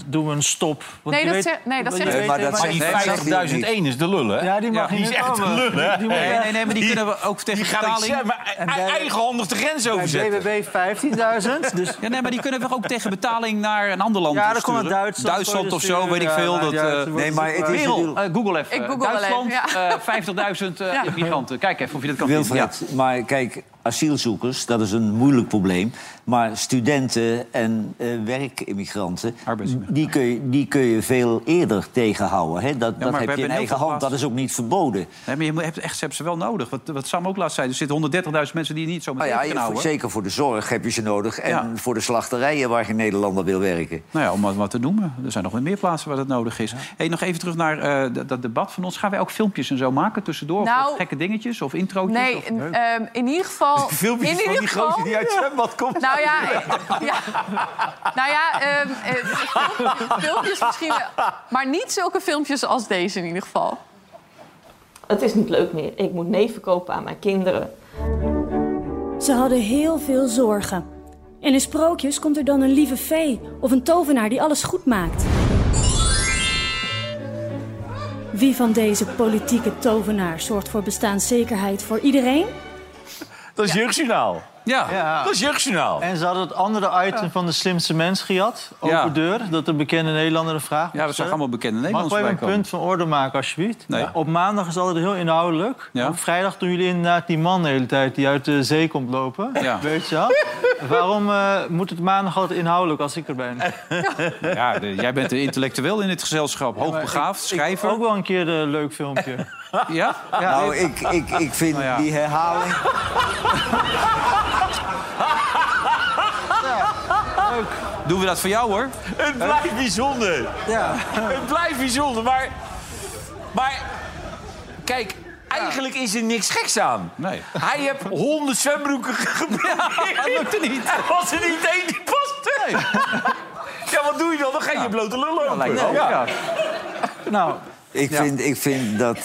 E: doen we een stop? Want
D: Nee,
E: je
D: dat
E: weet-
D: zeg- nee, dat
E: je
D: zegt-
E: weet
C: Maar dat
E: helemaal
C: zegt-
E: niet.
B: Die
C: Nee, dat zegt hij ook
B: 50.001
C: niet.
B: is de lullen, hè?
E: Ja, die mag
A: Ja,
E: niet
A: die is echt
E: komen.
B: lul, hè?
E: Die moet
A: Nee,
E: weg.
A: nee, nee, maar die, kunnen we ook tegen
B: Die gaat
A: betaling...
B: niet maar
A: en bij-
B: eigenhandig de grens
E: Bij
B: overzetten.
E: BBB 15.000, dus...
A: Ja, nee, maar die kunnen we ook tegen betaling naar een ander land
E: Ja, dan
A: sturen.
E: komt het Duitsland.
A: of zo, weet ik
E: nou,
A: veel. Dat, eh,
C: Nee, maar het is
A: Merel,
C: natuurlijk-
A: eh, Google even.
D: Ik google
A: Duitsland,
D: alleen, ja.
A: eh, 50.000 eh,
D: Ja.
A: migranten. Kijk even of je dat kan vinden. Ja.
C: Wilfred, maar kijk, asielzoekers, dat is een moeilijk probleem. Maar studenten en eh, werkimmigranten,
A: Arbeidsmigranten.
C: die kun, je, die kun je veel eerder tegenhouden. Hè? Dat,
A: maar
C: dat
A: we
C: heb je
A: hebben
C: in
A: heel
C: eigen
A: veel
C: hand, dat
A: plaats-
C: is ook niet verboden.
A: Nee, maar je moet- hebt, echt, ze hebben ze wel nodig. Wat, wat Sam ook laatst zei, er zitten 130.000 mensen die je niet zo
C: Nou
E: Oh
A: meteen
C: ja,
A: kan
C: je-
A: houden.
C: zeker voor de zorg heb je ze nodig. En
A: Ja.
C: voor de slachterijen waar geen Nederlander wil werken.
A: Nou ja, om wat- wat te noemen. Er zijn nog wel meer plaatsen waar dat nodig is. Hey, nog even terug naar eh, dat, dat debat van ons. Gaan wij ook filmpjes en zo maken tussendoor? Of-
D: Nou,
A: of gekke dingetjes of introotjes?
D: Nee,
A: of-
D: ehm, in ieder geval...
B: Filmpjes
D: in
B: van
D: ieder
B: die
D: geval-
B: gozer die uit het zwembad komt.
D: Nou ja, eh, ja. nou ja ehm, eh, filmpjes misschien wel. Maar niet zulke filmpjes als deze in ieder geval.
K: Het is niet leuk meer. Ik moet nee verkopen aan mijn kinderen.
L: Ze hadden heel veel zorgen. En in sprookjes komt er dan een lieve fee of een tovenaar die alles goed maakt. Wie van deze politieke tovenaars zorgt voor bestaanszekerheid voor iedereen?
E: Dat is jeugdjournaal. Ja.
L: Dat
E: is jeugdjournaal. En ze hadden het andere item van de slimste mens gejat. Open
A: Ja.
E: deur, dat de bekende Nederlander een vraag
A: Ja, dat zag allemaal bekende Nederlanders
E: Mag ik wel even
A: voorbij
E: een
A: komen.
E: punt van orde maken, alsjeblieft?
A: Nee.
E: Ja. Op maandag is altijd heel inhoudelijk.
A: Ja.
E: Op vrijdag doen jullie inderdaad die man de hele tijd die uit de zee komt lopen.
A: Ja.
E: Weet je wel? Waarom eh, moet het maandag altijd inhoudelijk als ik er ben?
A: Ja, de- jij bent een intellectueel in dit gezelschap. Hoogbegaafd, schrijver.
E: ook wel een keer een leuk filmpje.
A: Ja?
C: nou, ik, ik, ik vind
A: Nou ja.
C: die herhaling...
A: Doen we dat voor jou, hoor.
M: Het blijft bijzonder. Het blijft bijzonder, maar... Maar... Kijk, eigenlijk is er niks geks aan.
A: Nee.
M: Hij heeft honderd zwembroeken geprobeerd.
A: dat lukte niet.
M: Er was er niet één die paste. Ja, wat doe je dan? Dan ga je je blote lul lopen.
C: lijkt me ook, ja.
E: Nou,
C: Ik, vind, ik vind dat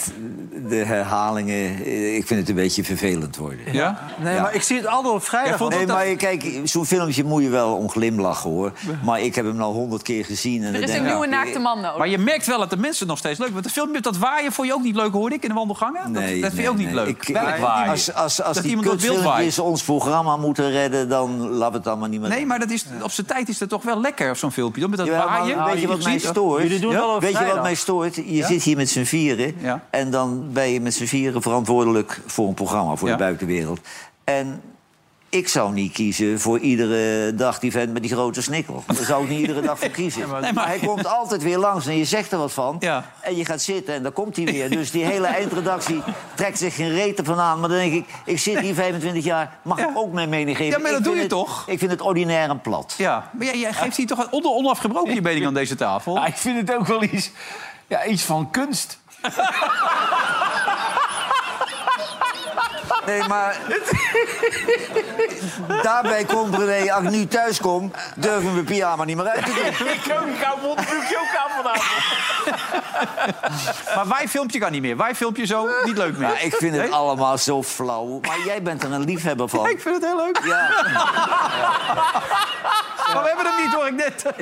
C: de herhalingen... eh, Ik vind het een beetje vervelend worden.
A: Ja?
E: Nee, maar ik zie het altijd op vrijdag. want-
C: nee, maar kijk, zo'n filmpje moet je wel om glimlachen, hoor. Maar ik heb hem al honderd keer gezien. En dan
D: Er is
C: denk
D: een
C: ik,
D: nieuwe
C: ja,
D: naakte man nodig.
A: Maar je merkt wel dat de mensen het nog steeds leuk vinden. Want het filmpje op dat waaien vond je ook niet leuk, hoorde ik, in de wandelgangen. dat, dat vind je ook niet leuk.
C: Ik,
A: Wel,
C: ik-
A: dat iemand-
C: als als, als
A: dat
C: die
A: iemand dat wil waaien.
C: kutfilmpjes ons programma moeten redden... dan laat het allemaal niet meer
A: Nee, maar dat is, op zijn tijd is dat toch wel lekker, zo'n filmpje. toch? Met dat
C: Ja, maar
A: waaien. Ah,
C: weet je wat mij stoort?
A: Ja?
C: weet je wat mij stoort? Je
A: Ja?
C: zit hier met z'n vieren. En dan ben je met z'n vieren verantwoordelijk voor een programma, voor
A: Ja.
C: de buitenwereld. En ik zou niet kiezen voor iedere dag die vent met die grote snikkel. Daar zou ik niet iedere dag voor kiezen. maar,
A: Nee, maar-
C: hij komt altijd weer langs en je zegt er wat van. En je gaat zitten en dan komt hij weer. Dus die hele eindredactie trekt zich geen reten van aan. Maar dan denk ik, ik zit hier 25 jaar, mag ik ook mijn mening geven?
A: Ja, maar
C: Ik
A: dat doe
C: vind
A: je
C: het-
A: toch?
C: Ik vind het ordinair en plat.
A: Ja, maar jij, jij geeft hier toch een onder, onafgebroken je mening aan deze tafel?
M: ik vind het ook wel iets, ja, iets van kunst.
C: Nee, maar daarbij komt René, als ik nu thuis kom, durf ik mijn pyjama niet meer uit te doen.
M: ik ook, ik hou mondbroekje ook aan vanavond.
A: Maar wij filmpje kan niet meer. Wij filmpje zo niet leuk meer.
C: Ja, Nou, ik vind het
A: Nee?
C: allemaal zo flauw. Maar jij bent er een liefhebber van.
A: Ik vind het heel leuk. Maar we hebben hem niet, hoor ik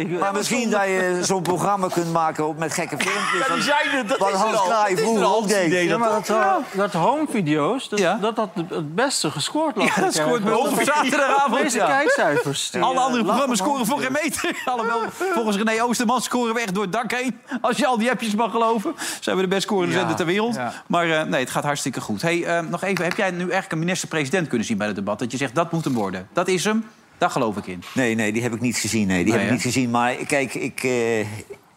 A: net.
C: Maar misschien dat je zo'n programma kunt maken op- met gekke filmpjes.
M: Ja, die zijn er, dat
C: wat
M: is er
C: Hans
M: al.
C: Kraai
M: Dat is er
C: vroeger
M: al,
C: ook
M: het
C: deed.
M: idee
E: Ja, maar dat, eh, dat home video's, dat,
A: Ja.
E: dat had het beste gescoord. las
A: Ja,
E: ik
A: dat scoort
E: ergens.
A: me op zaterdagavond,
E: Deze
A: ja.
E: kijkcijfers. die,
A: Alle
E: eh,
A: andere
E: lachen
A: programma's
E: om
A: scoren voor geen meter. Alhoewel, volgens René Oosterman scoren we echt door het dak heen. Als je al die appjes mag geloven. Zijn we de best scorende
E: Ja,
A: zender ter wereld.
E: ja.
A: Maar eh, nee, het gaat hartstikke goed. Hey, eh, nog even, heb jij nu eigenlijk een minister-president kunnen zien bij het debat? Dat je zegt, dat moet hem worden. Dat is hem. Daar geloof ik in.
C: Nee, nee, die heb ik niet gezien. Nee,
A: Nee,
C: die heb ik
A: hè?
C: niet gezien. Maar kijk, ik, eh,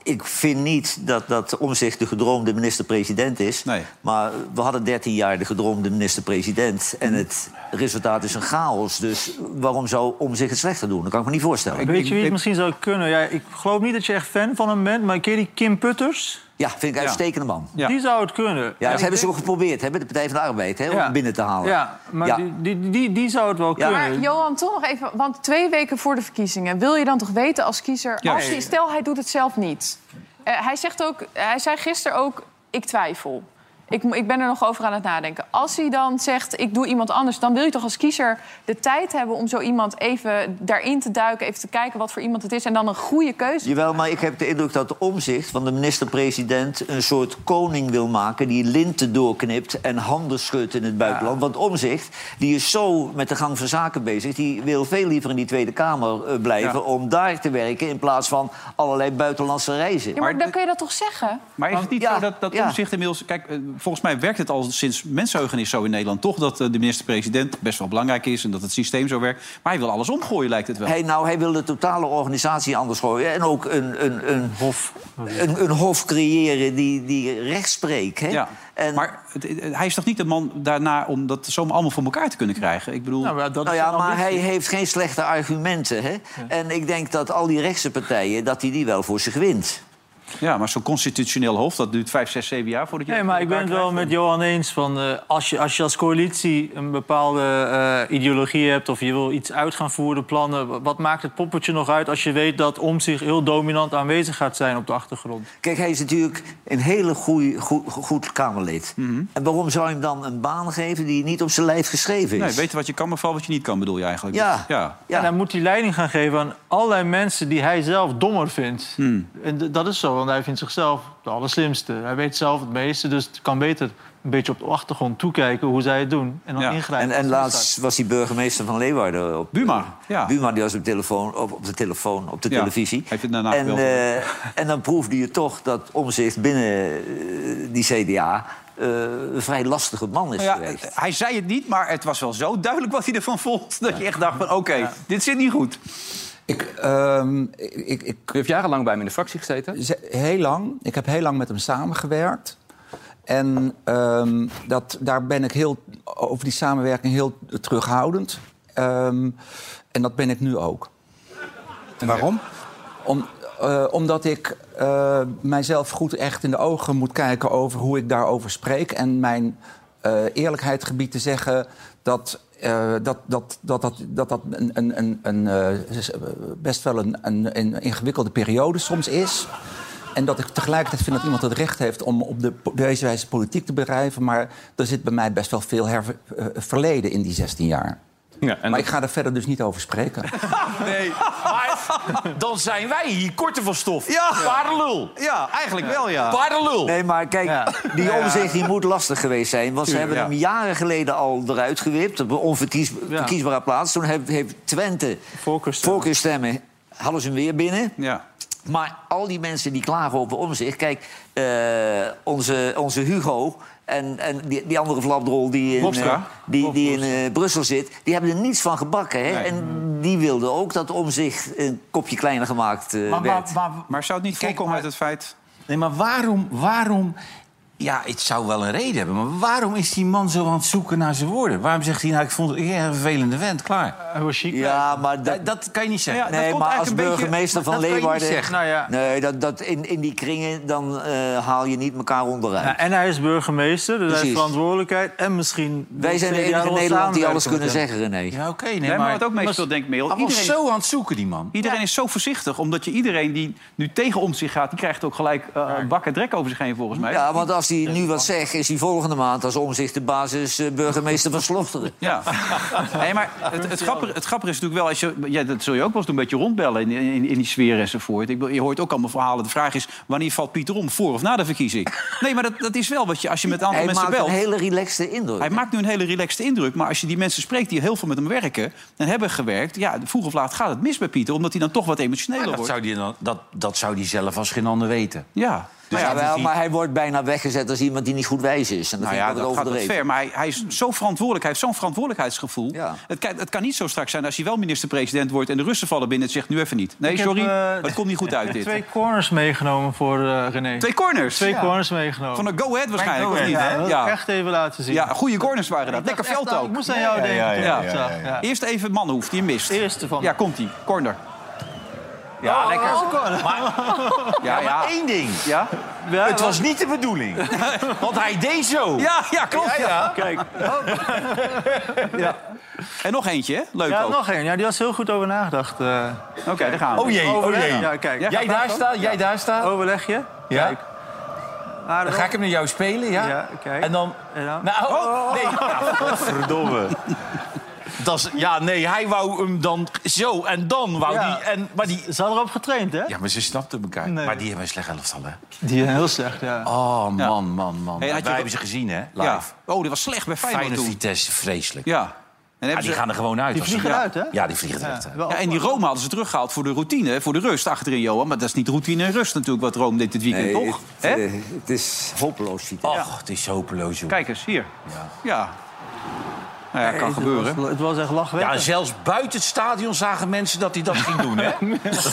C: ik vind niet dat, dat Omzicht de gedroomde minister-president is. Maar we hadden 13 jaar de gedroomde minister-president. En het resultaat is een chaos. Dus waarom zou Omzicht het slechter doen? Dat kan ik me niet voorstellen.
E: Weet je wie het misschien zou kunnen? Ja, ik geloof niet dat je echt fan van hem bent, maar ken je die Kim Putters?
C: Ja, vind ik een uitstekende man. Ja,
E: Die zou het kunnen.
C: dat hebben ze ook geprobeerd, hè, met de Partij van de Arbeid, hè, om
E: Ja.
C: hem binnen te halen.
E: Ja, maar
C: Ja.
E: Die, die, die, die zou het wel
D: Maar
E: kunnen.
D: Johan, toch nog even, want twee weken voor de verkiezingen... wil je dan toch weten als kiezer,
E: Ja.
D: als hij, stel hij doet het zelf niet. Eh, hij, zegt ook, hij zei gisteren ook, ik twijfel. Ik, mo- ik ben er nog over aan het nadenken. Als hij dan zegt, ik doe iemand anders... dan wil je toch als kiezer de tijd hebben om zo iemand even daarin te duiken... even te kijken wat voor iemand het is en dan een goede keuze.
C: Jawel, maar ik heb de indruk dat de omzicht van de minister-president... een soort koning wil maken die linten doorknipt en handen schudt in het buitenland. Want omzicht die is zo met de gang van zaken bezig... die wil veel liever in die Tweede Kamer eh, blijven om daar te werken... in plaats van allerlei buitenlandse reizen.
D: Ja, maar dan kun je dat toch zeggen?
A: Maar is het niet zo dat, dat
C: ja.
A: omzicht inmiddels... Kijk, eh, volgens mij werkt het al sinds mensenheugenis zo in Nederland toch... dat eh, de minister-president best wel belangrijk is... en dat het systeem zo werkt. Maar hij wil alles omgooien, lijkt het wel.
C: Hij, nou, hij wil de totale organisatie anders gooien. En ook een, een, een, hof. een, een hof creëren die, die recht spreekt. Hè?
A: Ja. Maar het- het- hij is toch niet de man daarna om dat zomaar allemaal voor elkaar te kunnen krijgen? Ik bedoel...
C: nou ja, maar hij heeft geen slechte argumenten. Hè? En ik denk dat al die rechtse partijen, dat hij die wel voor zich wint.
A: Ja, maar zo'n constitutioneel hof, dat duurt vijf, zes, zeven jaar voordat je...
E: Nee, maar ik ben het wel met Johan eens. Van, eh, als, je, als je als coalitie een bepaalde eh, ideologie hebt... of je wil iets uit gaan voeren, plannen... wa- wat maakt het poppetje nog uit als je weet dat om zich heel dominant aanwezig gaat zijn op de achtergrond?
C: Kijk, hij is natuurlijk een hele goeie, goe- goed Kamerlid.
A: Mhm.
C: En waarom zou je hem dan een baan geven die niet op zijn lijf geschreven is?
A: Nee, weten wat je kan, maar vooral wat je niet kan, bedoel je eigenlijk.
C: Ja.
A: ja.
C: Hmm.
E: En dan moet hij leiding gaan geven aan allerlei mensen die hij zelf dommer vindt. En d- dat is zo. meestal, want hij vindt zichzelf de allerslimste. Hij weet zelf het meeste, dus het kan beter een beetje op de achtergrond toekijken hoe zij het doen. En dan ingrijpen.
C: En,
E: als
C: en
E: het
C: laatst was die burgemeester van Leeuwarden op... Buma,
A: ja.
C: Buma, die was op, telefoon, op, op de telefoon, op de
A: Ja,
C: televisie.
A: heeft het daarna
C: en,
A: gebeld.
C: eh, en dan proefde je toch dat omzicht binnen eh, die CDA... eh, een vrij lastige man is
A: Nou ja,
C: geweest.
A: hij zei het niet, maar het was wel zo duidelijk wat hij ervan vond. Dat je echt dacht van, oké, dit zit niet goed.
N: Ik, ehm, ik, ik, U heeft jarenlang bij hem in de fractie gezeten? Heel lang. Ik heb heel lang met hem samengewerkt. En ehm, dat, daar ben ik heel, over die samenwerking heel terughoudend. Ehm, en dat ben ik nu ook. En waarom? Om, eh, omdat ik eh, mijzelf goed echt in de ogen moet kijken over hoe ik daarover spreek. En mijn eh, eerlijkheid gebied te zeggen dat. eh, dat, dat, dat, dat, dat dat een, een, een, een, eh, best wel een, een, een ingewikkelde periode soms is. En dat ik tegelijkertijd vind dat iemand het recht heeft om op de, po- deze wijze politiek te bedrijven. Maar er zit bij mij best wel veel herver- eh, verleden in die 16 jaar. maar ik ga daar verder dus niet over spreken.
M: Nee. Maar dan zijn wij hier korter van stof.
A: Ja.
M: Paardenlul.
A: Ja, eigenlijk wel, ja.
M: Paardenlul.
C: Nee, maar kijk, die
M: Ja.
C: omzicht die moet lastig geweest zijn. Want ze
M: Tuurlijk,
C: hebben hem jaren geleden al eruit gewipt. Op een onverkiesbare plaats. Toen heeft, heeft Twente voorkeurstemmen. Hadden ze hem weer binnen.
A: Ja.
C: Maar al die mensen die klagen over omzicht. Kijk, eh, onze, onze Hugo en, en die, die andere flapdrol die in,
A: Hofstra.
C: eh, die, die in eh, Brussel zit. Die hebben er niets van gebakken. Hè?
A: Nee.
C: En die wilden ook dat omzicht een kopje kleiner gemaakt eh,
A: Maar- maar-
C: werd.
A: Maar zou het niet voorkomen uit het feit...
B: Nee, maar waarom, waarom... Ja, het zou wel een reden hebben. Maar waarom is die man zo aan het zoeken naar zijn woorden? Waarom zegt hij nou, ik vond het ik ben een vervelende vent, klaar.
E: Hij was chic.
C: Ja, maar dat,
B: kan je niet zeggen.
C: nee, maar als burgemeester van
B: dat kan je niet
C: Leeuwarden...
B: zeggen. Nou ja.
C: Nee, dat, dat in, in die kringen dan eh, haal je niet elkaar onderuit.
E: Nou, en hij is burgemeester, dus hij
C: Precies.
E: heeft verantwoordelijkheid. En misschien...
C: Wij zijn de
E: CDA
C: enige
E: wil
C: in Nederland die alles
E: samenwerken
C: kunnen
E: met hem.
C: zeggen, René.
B: Ja, oké. nee,
A: Nee, maar, wat ook meespeelt, denk ik, Merel,
B: Hij was
A: iedereen-
B: zo aan het zoeken, die man.
A: Iedereen is zo voorzichtig, omdat je iedereen die nu tegen om zich gaat... die krijgt ook gelijk eh een bak en drek over zich heen, volgens mij.
C: Ja, want als hij nu wat zegt, is hij volgende maand als omzicht de basis eh, burgemeester van Slochteren.
A: Ja. Nee, maar het, het, grappige, het grappige is natuurlijk wel, als je, ja, dat zul je ook wel eens doen, een beetje rondbellen in, in, in die sfeer enzovoort. Ik, bedoel, je hoort ook allemaal verhalen. De vraag is, wanneer valt Pieter om, voor of na de verkiezing? Nee, maar dat, dat is wel wat je, als je met een aantal
C: Hij
A: mensen
C: maakt
A: belt...
C: een hele relaxte indruk.
A: Hij maakt nu een hele relaxte indruk, maar als je die mensen spreekt die heel veel met hem werken en hebben gewerkt, ja, vroeg of laat gaat het mis bij Pieter, omdat hij dan toch wat emotioneler
B: Dat
A: wordt.
B: zou, die dan, dat, dat zou die zelf als geen ander weten.
A: Ja.
B: Dus
C: maar, Nou ja,
B: dat is
C: wel,
B: niet-
C: maar hij wordt bijna weggezet als iemand die niet goed wijs is. En dat
A: Nou
C: vind
A: ja,
C: ik wel
A: dat gaat wat
C: overdreven. Hmm.
A: ver. Maar hij, hij is zo verantwoordelijk. Hij heeft zo'n verantwoordelijkheidsgevoel. Het, kan, het kan niet zo straks zijn als hij wel minister-president wordt... en de Russen vallen binnen en zegt nu even niet. Nee,
E: Ik heb,
A: sorry,
E: eh,
A: het komt niet goed uit dit.
E: Twee corners meegenomen voor eh, René.
A: Twee corners?
E: Twee
A: Ja.
E: corners meegenomen.
A: Van een Go Ahead waarschijnlijk,
E: Van Go
A: of niet,
E: Ahead,
A: hè?
E: Ja, dat
A: Ja.
E: wil ik echt even laten zien.
A: Ja, goede corners waren dat.
E: Ik dacht
A: Lekker veld
E: echt aan-
A: ook.
E: Ik moest aan jou denken. toen ik dat zag, ja.
A: Eerst even Manhoef, die mist. Eerste van. Ja, komt-ie. Corner. Ja,
E: Oh,
A: lekker.
E: oh, corner.
A: Ja,
M: Ja,
A: ja.
M: maar één ding.
A: Ja?
M: het was niet de bedoeling. Want hij deed zo.
A: Ja, ja, klopt.
M: Ja, ja.
A: Kijk. Ja. En nog eentje, hè? Leuk
E: ja,
A: ook.
E: nog één. Ja, die was heel goed over nagedacht. eh.
A: Oké, daar gaan we.
E: Oh jee, oh
A: Overleg.
E: jee. Ja, kijk.
A: gaat
E: Jij
A: weg
E: daar
A: dan?
E: staat,
A: Ja.
E: jij daar staat. Overleg je?
N: Ja.
E: Kijk.
N: Dan ga ik hem naar jou spelen, ja?
E: Ja, kijk.
N: En dan...
M: Nou, oh, nee. Ja, verdomme. Dat is, ja, nee, hij wou hem dan zo en dan wou
E: Ja.
M: die... En, maar die...
E: Ze hadden erop getraind, hè?
B: Ja, maar ze snapten elkaar.
E: Nee.
B: Maar die hebben een slecht elftal, hè?
E: Die zijn heel slecht, ja.
B: Oh, man, man, man.
A: Hey, had
B: Wij
A: je wel-
B: hebben ze gezien, hè? Live.
A: Ja. Oh, dat was slecht bij Feyenoord
B: Feyenoord
A: toen.
B: Vitesse, vreselijk.
A: Ja. En
B: Ja,
A: hebben
B: die
A: ze-
B: gaan er gewoon uit.
E: Die
B: als ze-
E: vliegen
B: Ja.
E: eruit, hè?
B: Ja, die vliegen eruit.
E: Wel
A: Ja, en die Rome hadden ze teruggehaald voor de routine, voor de rust achterin Johan. Maar dat is niet routine en rust natuurlijk wat Rome deed dit weekend,
C: Nee,
A: toch?
C: het,
A: Hè?
C: eh, het is hopeloos, Vito.
B: Och, het is hopeloos, joh.
A: Kijk eens, hier. Ja. Nou ja, kan
E: Het
A: gebeuren.
E: was- Het was echt
B: Ja,
E: lachwekkend.
B: zelfs buiten het stadion zagen mensen dat hij dat ging doen, hè? Dat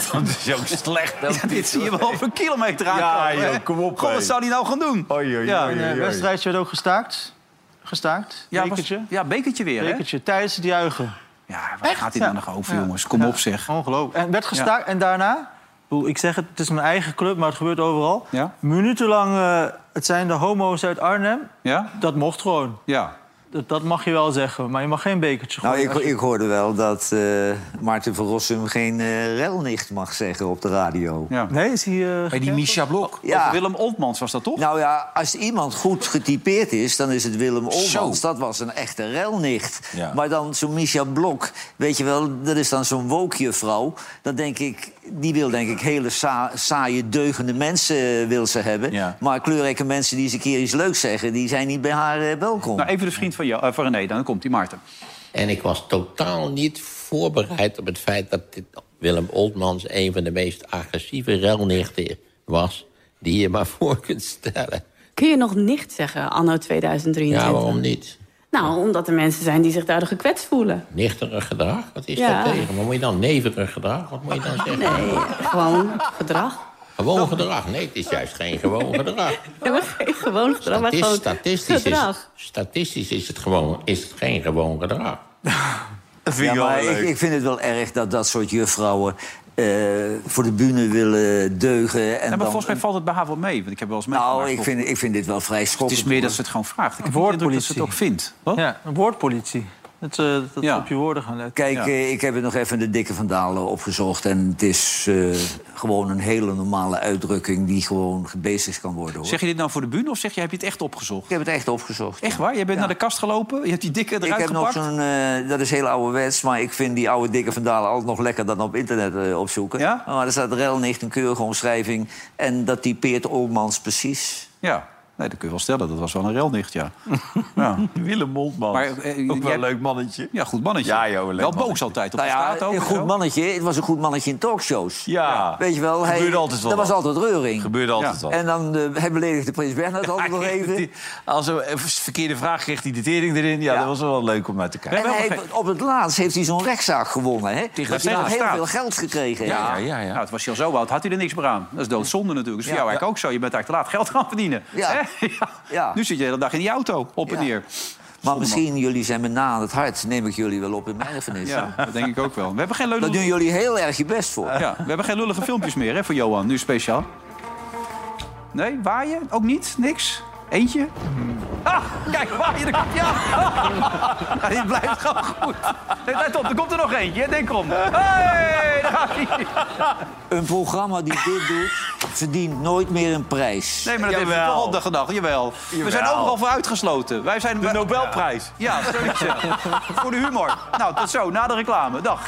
B: is ook slecht.
A: Ja, dit zie je wel op een kilometer aankomen. hè?
M: op.
A: God, wat zou die nou gaan doen?
E: Ja, een eh, wedstrijdje werd ook gestaakt. Gestaakt.
A: Ja, was-
E: bekertje.
A: ja, bekertje weer, hè?
E: Bekertje. Tijdens het juichen.
A: Ja, waar gaat dit
E: Ja.
A: nou nog over, jongens? Kom op, zeg.
E: Ongelooflijk. En werd gestaakt. En daarna, ik bedoel, ik zeg het, het is mijn eigen club, maar het gebeurt overal.
A: Ja?
E: Minutenlang, eh, het zijn de homo's uit Arnhem.
A: Ja?
E: Dat mocht gewoon.
A: Ja.
E: Dat, dat mag je wel zeggen, maar je mag geen bekertje
C: Nou,
E: gooien.
C: ik,
E: Als je-
C: ik hoorde wel dat eh, Maarten van Rossum geen eh, relnicht mag zeggen op de radio.
A: ja.
E: Nee, is hij... eh,
B: Bij die Misha Blok.
C: Ja.
A: Of Willem Oltmans was dat toch?
C: Nou ja, als iemand goed getypeerd is, dan is het Willem Olmans. Dat was een echte relnicht.
B: Ja.
C: Maar dan zo'n Misha Blok, weet je wel, dat is dan zo'n wookjuffrouw. Dan denk ik, die wil denk ik hele sa- saaie, deugende mensen eh, wil ze hebben. Maar kleurrijke mensen die eens een keer iets leuks zeggen... die zijn niet bij haar eh, welkom.
A: Nou, even de vriend van, jou, eh, van René, dan komt die Maarten.
O: En ik was totaal niet voorbereid op het feit dat dit Willem Oltmans een van de meest agressieve relnichten was die je maar voor kunt stellen.
P: Kun je nog nicht zeggen, anno 2023?
O: Ja, waarom niet?
P: Nou, omdat er mensen zijn die zich daardoor gekwetst voelen.
O: Nichterig gedrag? Wat is
P: Ja.
O: dat tegen? Wat moet je dan? Neverig gedrag? Wat moet je dan zeggen?
P: Nee, gewoon gedrag.
O: Gewoon gedrag? Nee, het is juist geen gewoon gedrag.
P: Ja, maar geen gewoon gedrag, maar
O: Statis-
P: gewoon
O: statistisch, is,
P: gedrag.
O: statistisch is het gewoon is het geen gewoon gedrag.
C: ja, maar ik, ik vind het wel erg dat dat soort juffrouwen... eh, voor de bühne willen deugen. En
A: Ja, maar
C: dan-
A: volgens mij valt het bij haar wel mee. Want ik heb wel eens
C: Nou,
A: meegemaakt
C: ik
A: op-
C: vind, ik vind dit wel vrij
A: Het
C: schokkend.
A: is meer dat ze het gewoon vraagt. Ik heb niet de indruk dat ze het ook vindt.
E: Ja, een woordpolitie. Dat, eh, dat ze op je woorden gaan letten.
C: Kijk,
E: Ja.
C: eh, ik heb het nog even de dikke vandalen opgezocht. En het is eh, gewoon een hele normale uitdrukking die gewoon gebezigd kan worden. Hoor.
A: Zeg je dit nou voor de bühne of zeg je, heb je het echt opgezocht? Ik
C: heb het echt opgezocht.
A: Echt waar? Je bent naar de kast gelopen, je hebt die dikke eruit
C: ik heb
A: gepakt.
C: nog zo'n, eh, dat is heel ouderwets, maar ik vind die oude dikke vandalen altijd nog lekker dan op internet eh, opzoeken. Maar er staat relnicht een keurige omschrijving en dat typeert Olmans precies.
A: Ja, nee, dat kun je wel stellen. Dat was wel een relnicht, ja. ja.
M: Willem Mondman.
A: Maar, eh,
M: ook wel
A: jij-
M: een leuk mannetje.
A: Ja, goed mannetje.
M: Ja, joh, leuk
A: wel boos
M: mannetje. eh,
A: altijd op
C: Nou
A: de
C: ja,
A: straat ook.
C: een
A: en
C: goed
A: zo.
C: mannetje. Het was een goed mannetje in talkshows.
M: Ja.
C: Weet je wel,
M: Gebeurde
C: hij,
M: altijd wel
C: er was
M: wat.
C: altijd reuring.
M: Gebeurde altijd
C: Ja.
M: wat.
C: En dan eh, hij beledigde prins Bernhard altijd nog even.
M: Als er een verkeerde vraag kreeg hij de tering erin. Ja, dat was wel leuk om naar te kijken.
C: En hij heeft- op het laatst heeft hij zo'n rechtszaak gewonnen. Hè?
A: Tegen
C: dat
A: de
C: hij nog heel
A: staat.
C: veel geld gekregen heeft.
A: Ja, ja, ja. Nou, het was je al zo oud, had hij er niks meer aan. Dat is doodzonde natuurlijk. Dat is voor jou eigenlijk ook zo. Je bent eigenlijk te laat geld gaan verdienen.
C: Ja.
A: Hè? Ja. Nu zit je de hele dag in die auto, op en
C: Ja.
A: neer.
C: Maar misschien jullie zijn me na aan het hart. Neem ik jullie wel op in mijn erfenis.
A: Ja, dat denk ik ook wel. We hebben geen leuke...
C: Daar doen jullie heel erg je best voor.
A: Ja, we hebben geen lullige filmpjes meer, hè, voor Johan. Nu speciaal. Nee, waaien? Ook niet? Niks? Eentje? Ah, kijk, waaien. er komt- Ja. ja, dit blijft gewoon goed. Nee, let op, er komt er nog eentje. hè. Denk om. Hey, daar gaat hij.
C: Een programma die dit doet, verdient nooit meer een prijs.
A: Nee, maar dat heeft
C: Jawel.
A: toch op de gedachte. Jawel. We
C: Jawel.
A: zijn overal voor uitgesloten. Wij zijn de Nobelprijs. Ja, zoiets. ja. voor de humor. Nou, tot zo. Na de reclame. Dag.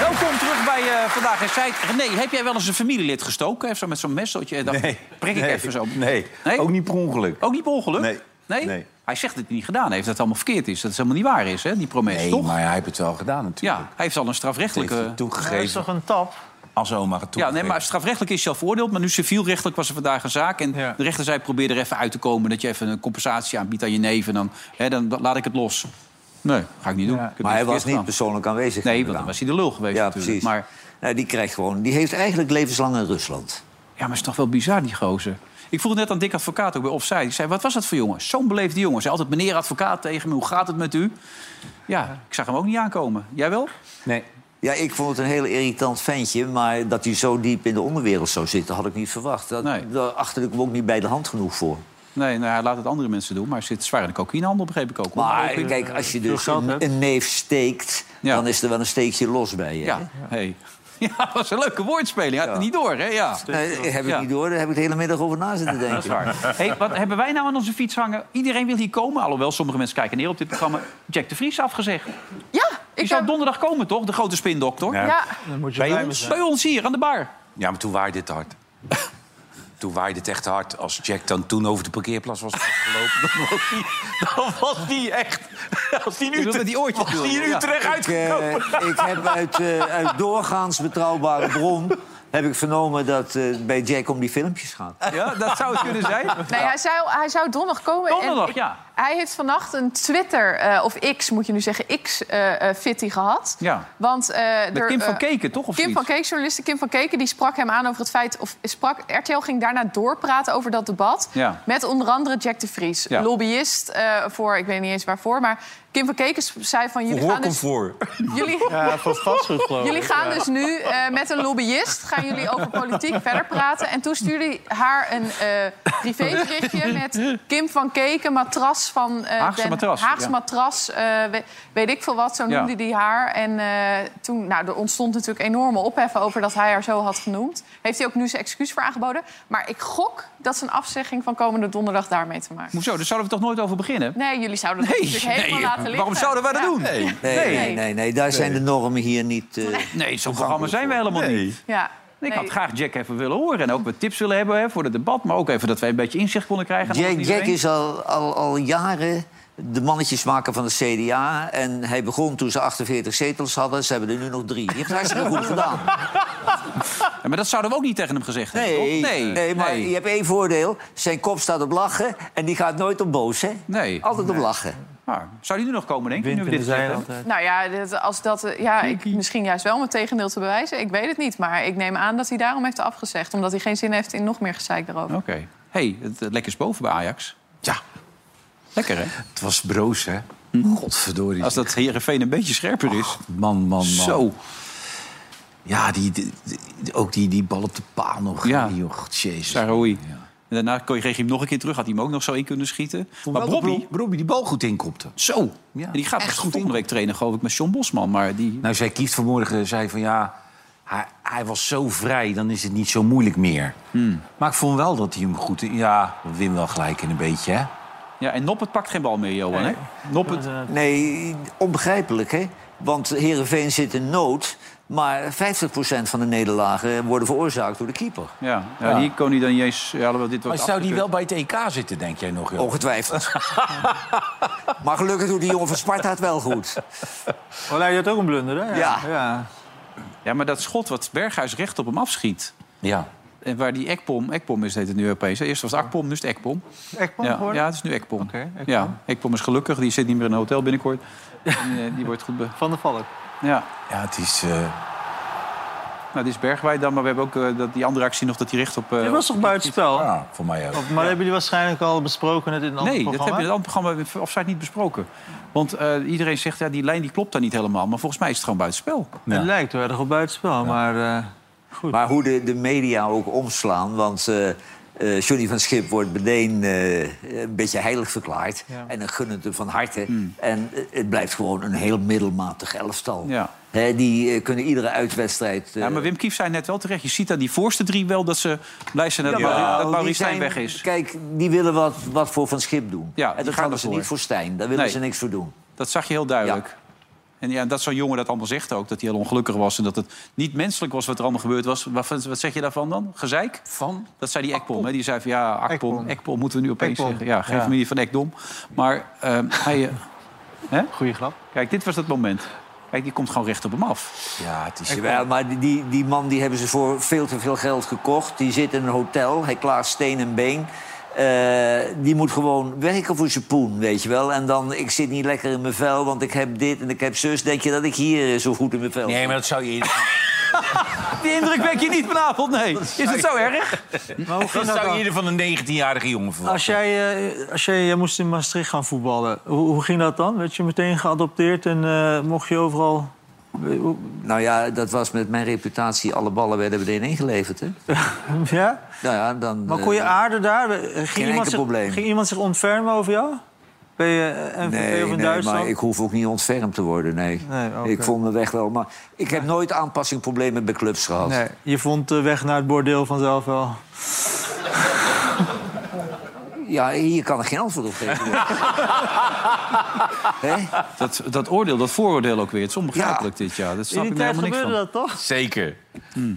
A: Welkom terug bij eh, Vandaag in Zij. René, heb jij wel eens een familielid gestoken? Even zo met zo'n mes? Dat je dacht,
M: Nee.
A: prik ik
M: Nee.
A: even zo.
M: Nee. Ook niet per ongeluk.
B: Oh,
A: Ook niet per ongeluk?
M: Nee.
A: Nee?
M: Nee.
A: Hij zegt dat hij niet gedaan heeft, dat het allemaal verkeerd is. Dat het helemaal niet waar is, hè, die promesse,
M: Nee,
A: toch?
M: maar hij heeft het wel gedaan natuurlijk.
A: Ja, eh, hij heeft al een
M: Dat
A: strafrechtelijke...
M: heeft hij toegegeven. Dat is toch
A: een tap?
M: Als oma het
A: Ja, nee, maar strafrechtelijk is je al veroordeeld. Maar nu civielrechtelijk was er vandaag een zaak. En de rechter zei, probeer er even uit te komen... dat je even een compensatie aanbiedt aan je neef. En dan, hè, dan laat ik het los. Nee, ga ik niet doen. Ik heb
C: Maar hij
A: verkeerd
C: was niet
A: gedaan.
C: persoonlijk aanwezig.
A: Nee, want dan was hij de lul geweest
C: Ja,
A: natuurlijk.
C: precies.
A: Maar,
C: Nou, die, krijgt gewoon, die heeft eigenlijk levenslang in Rusland.
A: ja, maar het is toch wel bizar, die gozer. Ik vroeg net aan Dick Advocaat ook bij Offside. Ik zei, wat was dat voor jongen? Zo'n beleefde jongen. Zei altijd meneer advocaat tegen me, hoe gaat het met u? Ja, ik zag hem ook niet aankomen. Jij wel?
C: Nee. Ja, ik vond het een heel irritant ventje. Maar dat hij zo diep in de onderwereld zou zitten, had ik niet verwacht. Dat, Daar achterlijk ook niet bij de hand genoeg voor.
A: Nee, nou, hij laat het andere mensen doen. Maar hij zit zwaar in de cocaïnehandel, begreep ik ook. hoor.
C: Maar
A: Ook weer-
C: kijk, als je
A: veel
C: dus
A: geld
C: een,
A: hebt.
C: een neef steekt, dan is er wel een steekje los bij je.
A: Ja, Hey. ja, dat was een leuke woordspeling. Had het niet door, hè? Ja.
C: Nee, heb ik
A: Dus, eh, Ja.
C: niet door, daar heb ik de hele middag over na zitten denken.
A: Dat is waar. Hey, wat hebben wij nou aan onze fiets hangen? Iedereen wil hier komen. Alhoewel, sommige mensen kijken neer op dit programma. Jack de Vries afgezegd.
D: Ja,
A: Die zou donderdag komen, toch? De grote spindokter.
M: Ja. Ja. Dan moet je blij
A: bij,
M: mee
A: ons,
M: zijn.
A: bij ons hier, aan de bar.
M: Ja, maar toen waaide het hard. toen waaide het echt hard. Als Jack dan toen over de parkeerplaats was afgelopen... dan was die, dan was die echt... Als die nu
A: die oortjes
M: was die in
C: Ja,
M: Utrecht
C: ik, eh,
M: uitgekomen.
C: ik heb uit, eh, uit doorgaans betrouwbare bron... heb ik vernomen dat eh bij Jack om die filmpjes gaat.
A: Ja, dat zou het kunnen zijn.
D: Nee, hij zou, hij zou donderdag komen. en
C: Donderdag,
D: ik-
C: ja.
D: Hij heeft vannacht een Twitter, eh, of X moet je nu zeggen, X-fitty gehad.
A: Ja.
D: Want, eh,
A: Met
D: er,
A: Kim van
D: eh,
A: Keken, toch? Of
D: Kim
A: zoiets?
D: van Keek, journaliste Kim van Keken, die sprak hem aan over het feit... of sprak, RTL ging daarna doorpraten over dat debat...
A: Ja.
D: met onder andere Jack de Vries,
A: Ja.
D: lobbyist eh, voor... ik weet niet eens waarvoor, maar Kim van Keken zei van... jullie gaan dus, jullie,
E: Ja, voor vastgoed geloof ik.
A: Oh,
D: jullie gaan
E: ja.
D: dus nu eh, met een lobbyist... gaan jullie over politiek verder praten. En toen stuurde hij haar een eh privéberichtje met... Kim van Keken, matras Haags van eh,
A: Haagse
D: Den-
A: matras,
D: Haags
A: ja.
D: matras eh, we- weet, ik veel wat, zo
A: Ja.
D: noemde hij haar. En eh, toen, nou, er ontstond natuurlijk enorme ophef over dat hij haar zo had genoemd. Heeft hij ook nu zijn excuus voor aangeboden. Maar ik gok dat zijn afzegging van komende donderdag daarmee te maken.
A: Hoezo? Daar zouden we toch nooit over beginnen?
D: Nee, jullie zouden dat natuurlijk helemaal laten liggen.
A: Waarom zouden wij dat
D: Ja.
A: doen?
C: Nee, nee, nee, nee, daar zijn de normen hier niet. eh.
A: nee, zo'n programma zijn we helemaal niet.
D: Ja.
A: Ik
D: Nee.
A: had graag Jack even willen horen en ook wat tips willen hebben hè, voor het debat. Maar ook even dat wij een beetje inzicht konden krijgen. en
C: Jack,
A: alles
C: Jack
A: iedereen.
C: is al, al, al jaren de mannetjesmaker van de CDA. En hij begon toen ze 48 zetels hadden. Ze hebben er nu nog drie. Die heeft het hartstikke goed gedaan.
A: Ja, maar dat zouden we ook niet tegen hem gezegd hebben,
C: Nee,
A: toch?
C: nee, maar je hebt één voordeel. Zijn kop staat op lachen en die gaat nooit op boos, hè?
A: Nee.
C: Altijd op lachen.
A: Maar Ah, zou die er nog komen, denk je? Nu we
C: in
A: dit
C: de
A: gezegd
C: zeiland,
A: hebben?
D: Nou ja, dit- als dat, eh, ja ik, misschien juist wel om het tegendeel te bewijzen. Ik weet het niet. Maar ik neem aan dat hij daarom heeft afgezegd. Omdat hij geen zin heeft in nog meer gezeik daarover.
A: Oké. hey, het, het lekker is boven bij Ajax. Ja. Lekker, hè?
B: Het was broos, hè? Godverdorie.
A: Als dat Heerenveen een beetje scherper is.
B: man, man, man.
A: Zo.
B: Ja, die, die- die- ook die, die bal op de paal nog.
A: Ja.
B: Die, joh, jezus.
A: Saroui. En daarna kon je kreeg je hem nog een keer terug. Had hij hem ook nog zo in kunnen schieten. maar
B: dat
A: Bobby...
B: Robbie die bal goed inkopte.
A: Zo. En die gaat echt goed volgende week trainen, geloof ik, met John Bosman. Maar die...
B: Nou, zij kieft vanmorgen, zei van ja, hij, hij was zo vrij, dan is het niet zo moeilijk meer. Maar ik vond wel dat hij hem goed... Ja, Wim wel gelijk in een beetje, hè?
A: Ja, en Noppert pakt geen bal meer, Johan, hè? Noppert...
C: Nee, onbegrijpelijk, hè? Want Herenveen zit in nood. Maar 50% van de nederlagen worden veroorzaakt door de keeper.
A: Ja, ja, die kon hij dan niet eens... Ja, alhoewel, dit
B: Maar
A: wordt
B: zou die wel
A: afgekeurd.
B: bij het EK zitten, denk jij nog? Joh?
C: Ongetwijfeld. maar gelukkig doet die jongen van Sparta het wel goed.
E: Oh, nou, je had ook een blunder, hè?
C: Ja.
E: ja.
A: Ja, maar dat schot wat Berghuis recht op hem afschiet...
B: Ja.
A: En waar die Ekpom... Ekpom is heet het nu opeens. hè? Eerst was het Akpom, nu is het Ekpom.
E: Ekpom
A: ja,
E: geworden?
A: ja, het is nu Ekpom.
E: Ekpom.
A: Ja, Ekpom is gelukkig. Die zit niet meer in een hotel binnenkort. En, eh, die wordt goed... Be...
E: Van de Valk.
A: Ja.
B: Ja, het is... eh,
A: Nou, dit is Bergwijn dan, maar we hebben ook eh, dat, die andere actie nog dat hij recht op... eh,
E: Dit was toch buitenspel?
B: Ja, voor mij ook.
E: Of- Maar hebben jullie waarschijnlijk al besproken net in een ander
A: Nee, dat
E: programma?
A: heb je in het andere programma offside niet besproken. Want eh, iedereen zegt, ja, die lijn die klopt daar niet helemaal. Maar volgens mij is het gewoon buitenspel.
E: Het lijkt wel erg op buitenspel, maar... eh, goed.
C: Maar hoe de, de media ook omslaan, want eh, eh, Johnny van Schip wordt meteen eh, een beetje heilig verklaard. En dan gunnen het hem van harte.
A: Hmm.
C: En eh, het blijft gewoon een heel middelmatig elftal.
A: Ja.
C: Hè, die eh, kunnen iedere uitwedstrijd... eh,
A: Ja, maar Wim Kief zei net wel terecht. Je ziet aan die voorste drie wel dat ze blij zijn dat,
C: Ja,
A: Mauri-
C: maar
A: dat
C: die
A: Maurice
C: zijn-
A: Stijn weg is.
C: Kijk, die willen wat, wat voor Van Schip doen.
A: Ja, die
C: en dat
A: gaan
C: gaan ze
A: ervoor.
C: niet voor Stijn. Daar willen
A: Nee.
C: ze niks voor doen.
A: Dat zag je heel duidelijk. En ja, dat zo'n jongen dat allemaal zegt ook. Dat hij heel ongelukkig was. En dat het niet menselijk was wat er allemaal gebeurd was. Wat, wat zeg je daarvan dan? Gezeik?
B: Van?
A: Dat zei die Ekpom. Hè? Die zei van ja, Akpom.
B: Ekpom.
A: Ekpom moeten we nu opeens
B: Ekpom.
A: zeggen. Ja, geef
B: Ja.
A: hem hier van Ekdom. Maar eh, hij... eh, hè?
E: Goeie grap.
A: Kijk, dit was dat moment. Kijk, die komt gewoon recht op hem af.
B: Ja, het is...
C: Jawel, maar die- die, die man die hebben ze voor veel te veel geld gekocht. Die zit in een hotel, hij klaagt steen en been. Eh, die moet gewoon werken voor zijn poen, weet je wel. En dan, ik zit niet lekker in mijn vel, want ik heb dit en ik heb zus. Denk je dat ik hier eh, zo goed in mijn vel
B: Nee, maar dat zou je... in-
A: Die indruk wek je niet vanavond, nee. Is het zo erg?
E: Maar hoe ging
B: dat
E: dat
B: zou
E: dan?
B: je ieder van een 19-jarige jongen verwachten.
E: Als jij, eh, als jij, jij moest in Maastricht gaan voetballen, hoe, hoe ging dat dan? Werd je meteen geadopteerd en eh, mocht je overal...
C: Nou ja, dat was met mijn reputatie. Alle ballen werden meteen ingeleverd, hè.
E: ja?
C: Nou ja, dan...
E: Maar kon je
C: eh,
E: aarden daar? Ging
C: geen
E: iemand
C: enkel
E: zich,
C: probleem.
E: Ging iemand zich ontfermen over jou? Ben je eh, NVV
C: Nee,
E: of in
C: nee,
E: Duitsland?
C: maar ik hoef ook niet ontfermd te worden, nee.
E: Nee, oké.
C: Ik vond mijn weg wel, maar ik heb nooit aanpassingproblemen bij clubs gehad.
E: Nee, je vond de weg naar het bordeel vanzelf wel.
C: Ja, hier kan ik geen antwoord op geven. Hè?
A: Dat, dat oordeel, dat vooroordeel ook weer. Het is onbegrijpelijk dit jaar. Dat snap ik nou helemaal niks van.
E: toch?
B: Zeker.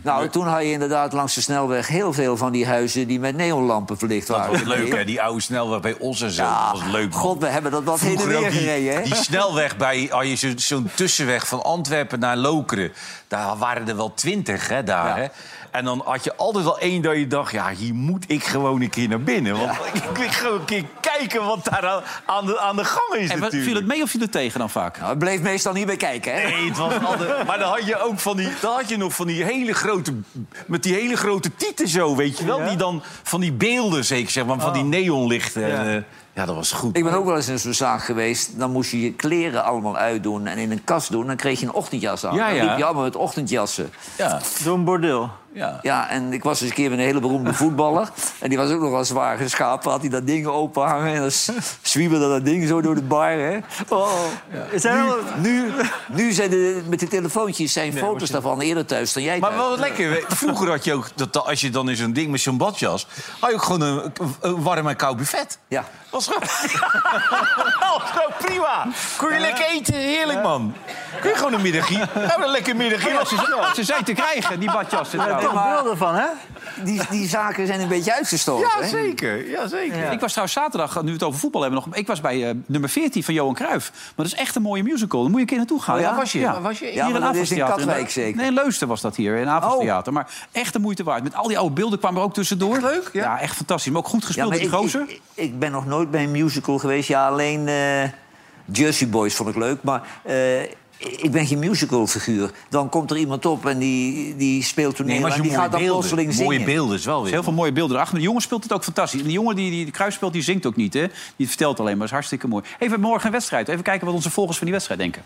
C: Nou, toen had je inderdaad langs de snelweg heel veel van die huizen die met neonlampen verlicht
B: Dat
C: waren.
B: was leuk, hè? Die oude snelweg bij ons en zo. dat was leuk, man.
C: God, we hebben dat wat heen en
B: Vroeger
C: weer
B: ook die-
C: gereden, hè?
B: Die snelweg bij, als je zo- zo'n tussenweg van Antwerpen naar Lokeren. Daar waren er wel twintig, hè, daar, hè? En dan had je altijd wel één dat je dacht, ja, hier moet ik gewoon een keer naar binnen. Want ik wil gewoon een keer kijken wat daar aan- aan de, aan de gang
A: En
B: is
A: wat-
B: natuurlijk.
A: viel het mee of viel het tegen dan vaak?
C: Nou, het bleef meestal niet bij kijken, hè?
B: Nee, het was altijd... Maar dan had je ook van die... Dan had je nog van die hele grote... Met die hele grote tieten zo, weet je wel? Die dan van die beelden zeker, zeg maar. Van die neonlichten. En, eh, Ja. dat was goed.
C: Ah. Ik ben ook wel eens in zo'n zaak geweest. Dan moest je je kleren allemaal uitdoen en in een kast doen. Dan kreeg je een ochtendjas aan.
B: Ja,
C: Dan
B: ja.
C: liep je allemaal met ochtendjassen.
B: Ja.
E: Door een bordeel.
C: Ja. en ik was eens een keer met een hele beroemde voetballer. En die was ook nog wel zwaar geschapen. Had hij dat ding openhangen en dan s- zwiebelde dat ding zo door de bar. Hè. Oh. Nu, nu, nu zijn de, met de telefoontjes zijn foto's daarvan eerder thuis dan jij
B: Maar
C: thuis.
B: wel lekker. weet- Vroeger had je ook, dat, als je dan in zo'n ding met zo'n badjas... had je ook gewoon een, een warm en koud buffet.
C: Ja.
B: Was gewoon, was gewoon prima. Kun je lekker eten, heerlijk man. Kun je gewoon een middagje. Hebben een lekker middagje.
A: Ja, ze- ze zijn te krijgen, die badjassen trouwens.
C: van, hè? Die, die zaken zijn een beetje uitgestorven.
A: Ja,
C: hè?
A: zeker. Ja, zeker. Ik was trouwens zaterdag, nu we het over voetbal hebben, nog, ik was bij eh, nummer 14 van Johan Cruijff. Maar dat is echt een mooie musical. Daar moet je een keer naartoe gaan.
C: Oh ja?
A: Daar
C: Ja. Waar was je? Ja,
A: hier in
C: maar dat is in
A: Avondtheater.
C: Katwijk zeker.
A: Nee, in Leusden was dat hier, in Avondtheater. Maar echt de moeite waard. Met al die oude beelden kwamen er ook tussendoor. Leuk, ja. echt fantastisch. Maar ook goed gespeeld
C: maar
A: door die
C: ik-
A: gozer.
C: Ik, ik ben nog nooit bij een musical geweest. Ja, alleen eh, Jersey Boys vond ik leuk. Maar eh, ik ben geen musicalfiguur. Dan komt er iemand op en die, die speelt toneel.
B: Nee, maar
C: en
B: als je
C: die
B: mooie
C: gaat dan
B: beelden-
C: plotseling zingen.
B: mooie beelden is wel
A: Er
B: weer.
A: zijn heel veel mooie beelden erachter. Maar de jongen speelt het ook fantastisch. En die jongen die, die de kruis speelt, die zingt ook niet. Hè? Die vertelt alleen maar. is hartstikke mooi. Even morgen een wedstrijd. Even kijken wat onze volgers van die wedstrijd denken.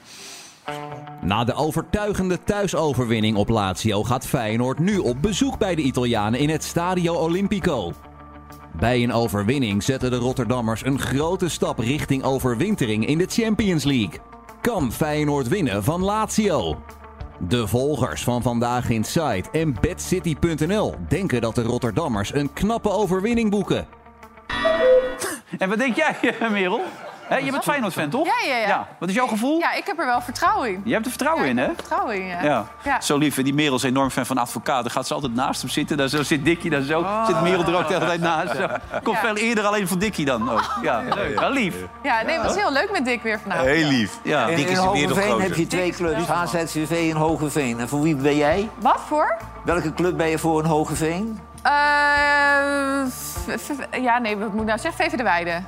Q: Na de overtuigende thuisoverwinning op Lazio gaat Feyenoord nu op bezoek bij de Italianen in het Stadio Olimpico. Bij een overwinning zetten de Rotterdammers een grote stap richting overwintering in de Champions League. Kan Feyenoord winnen van Lazio? De volgers van Vandaag in Sight en BadCity.nl denken dat de Rotterdammers een knappe overwinning boeken.
A: En wat denk jij, Merel? Hè, je bent Feyenoord-fan, toch?
D: Ja, ja, ja.
A: Wat is jouw gevoel?
D: Ja, ik heb er wel vertrouwen in.
A: Je hebt er vertrouwen
D: Ja, ik
A: in,
D: heb
A: hè?
D: er Vertrouwen in, ja.
A: Ja.
D: Ja.
A: zo lief. En Die Merel is enorm fan van advocaten. Gaat ze altijd naast hem zitten. Daar zo zit Dikkie dan zo.
D: Oh.
A: Zit Merel er ook de hele tijd naast. Zo. Komt veel eerder alleen voor Dikkie dan
D: Oh,
A: ook. Ja, wel lief.
D: Ja, nee, het was heel leuk met Dick weer vanavond.
A: lief. Ja.
C: In, in Hogeveen heb je twee clubs. HZCV en Hogeveen. En voor wie ben jij?
D: Wat voor?
C: Welke club ben je voor in Hogeveen?
D: Eh, v- v- ja, nee, wat moet ik nou zeggen? VV de Weide.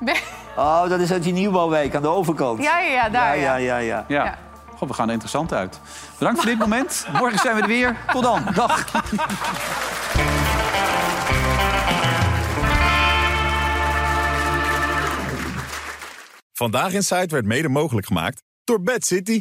D: Ben-
C: Oh, dat is uit die nieuwbouwwijk aan de overkant.
D: Ja, ja, ja, daar,
C: Ja,
D: ja.
C: ja, ja.
A: Ja. Goh, we gaan er interessant uit. Bedankt voor dit moment. Morgen zijn we er weer. Tot dan. Dag.
R: Vandaag in Site werd mede mogelijk gemaakt door Bad City.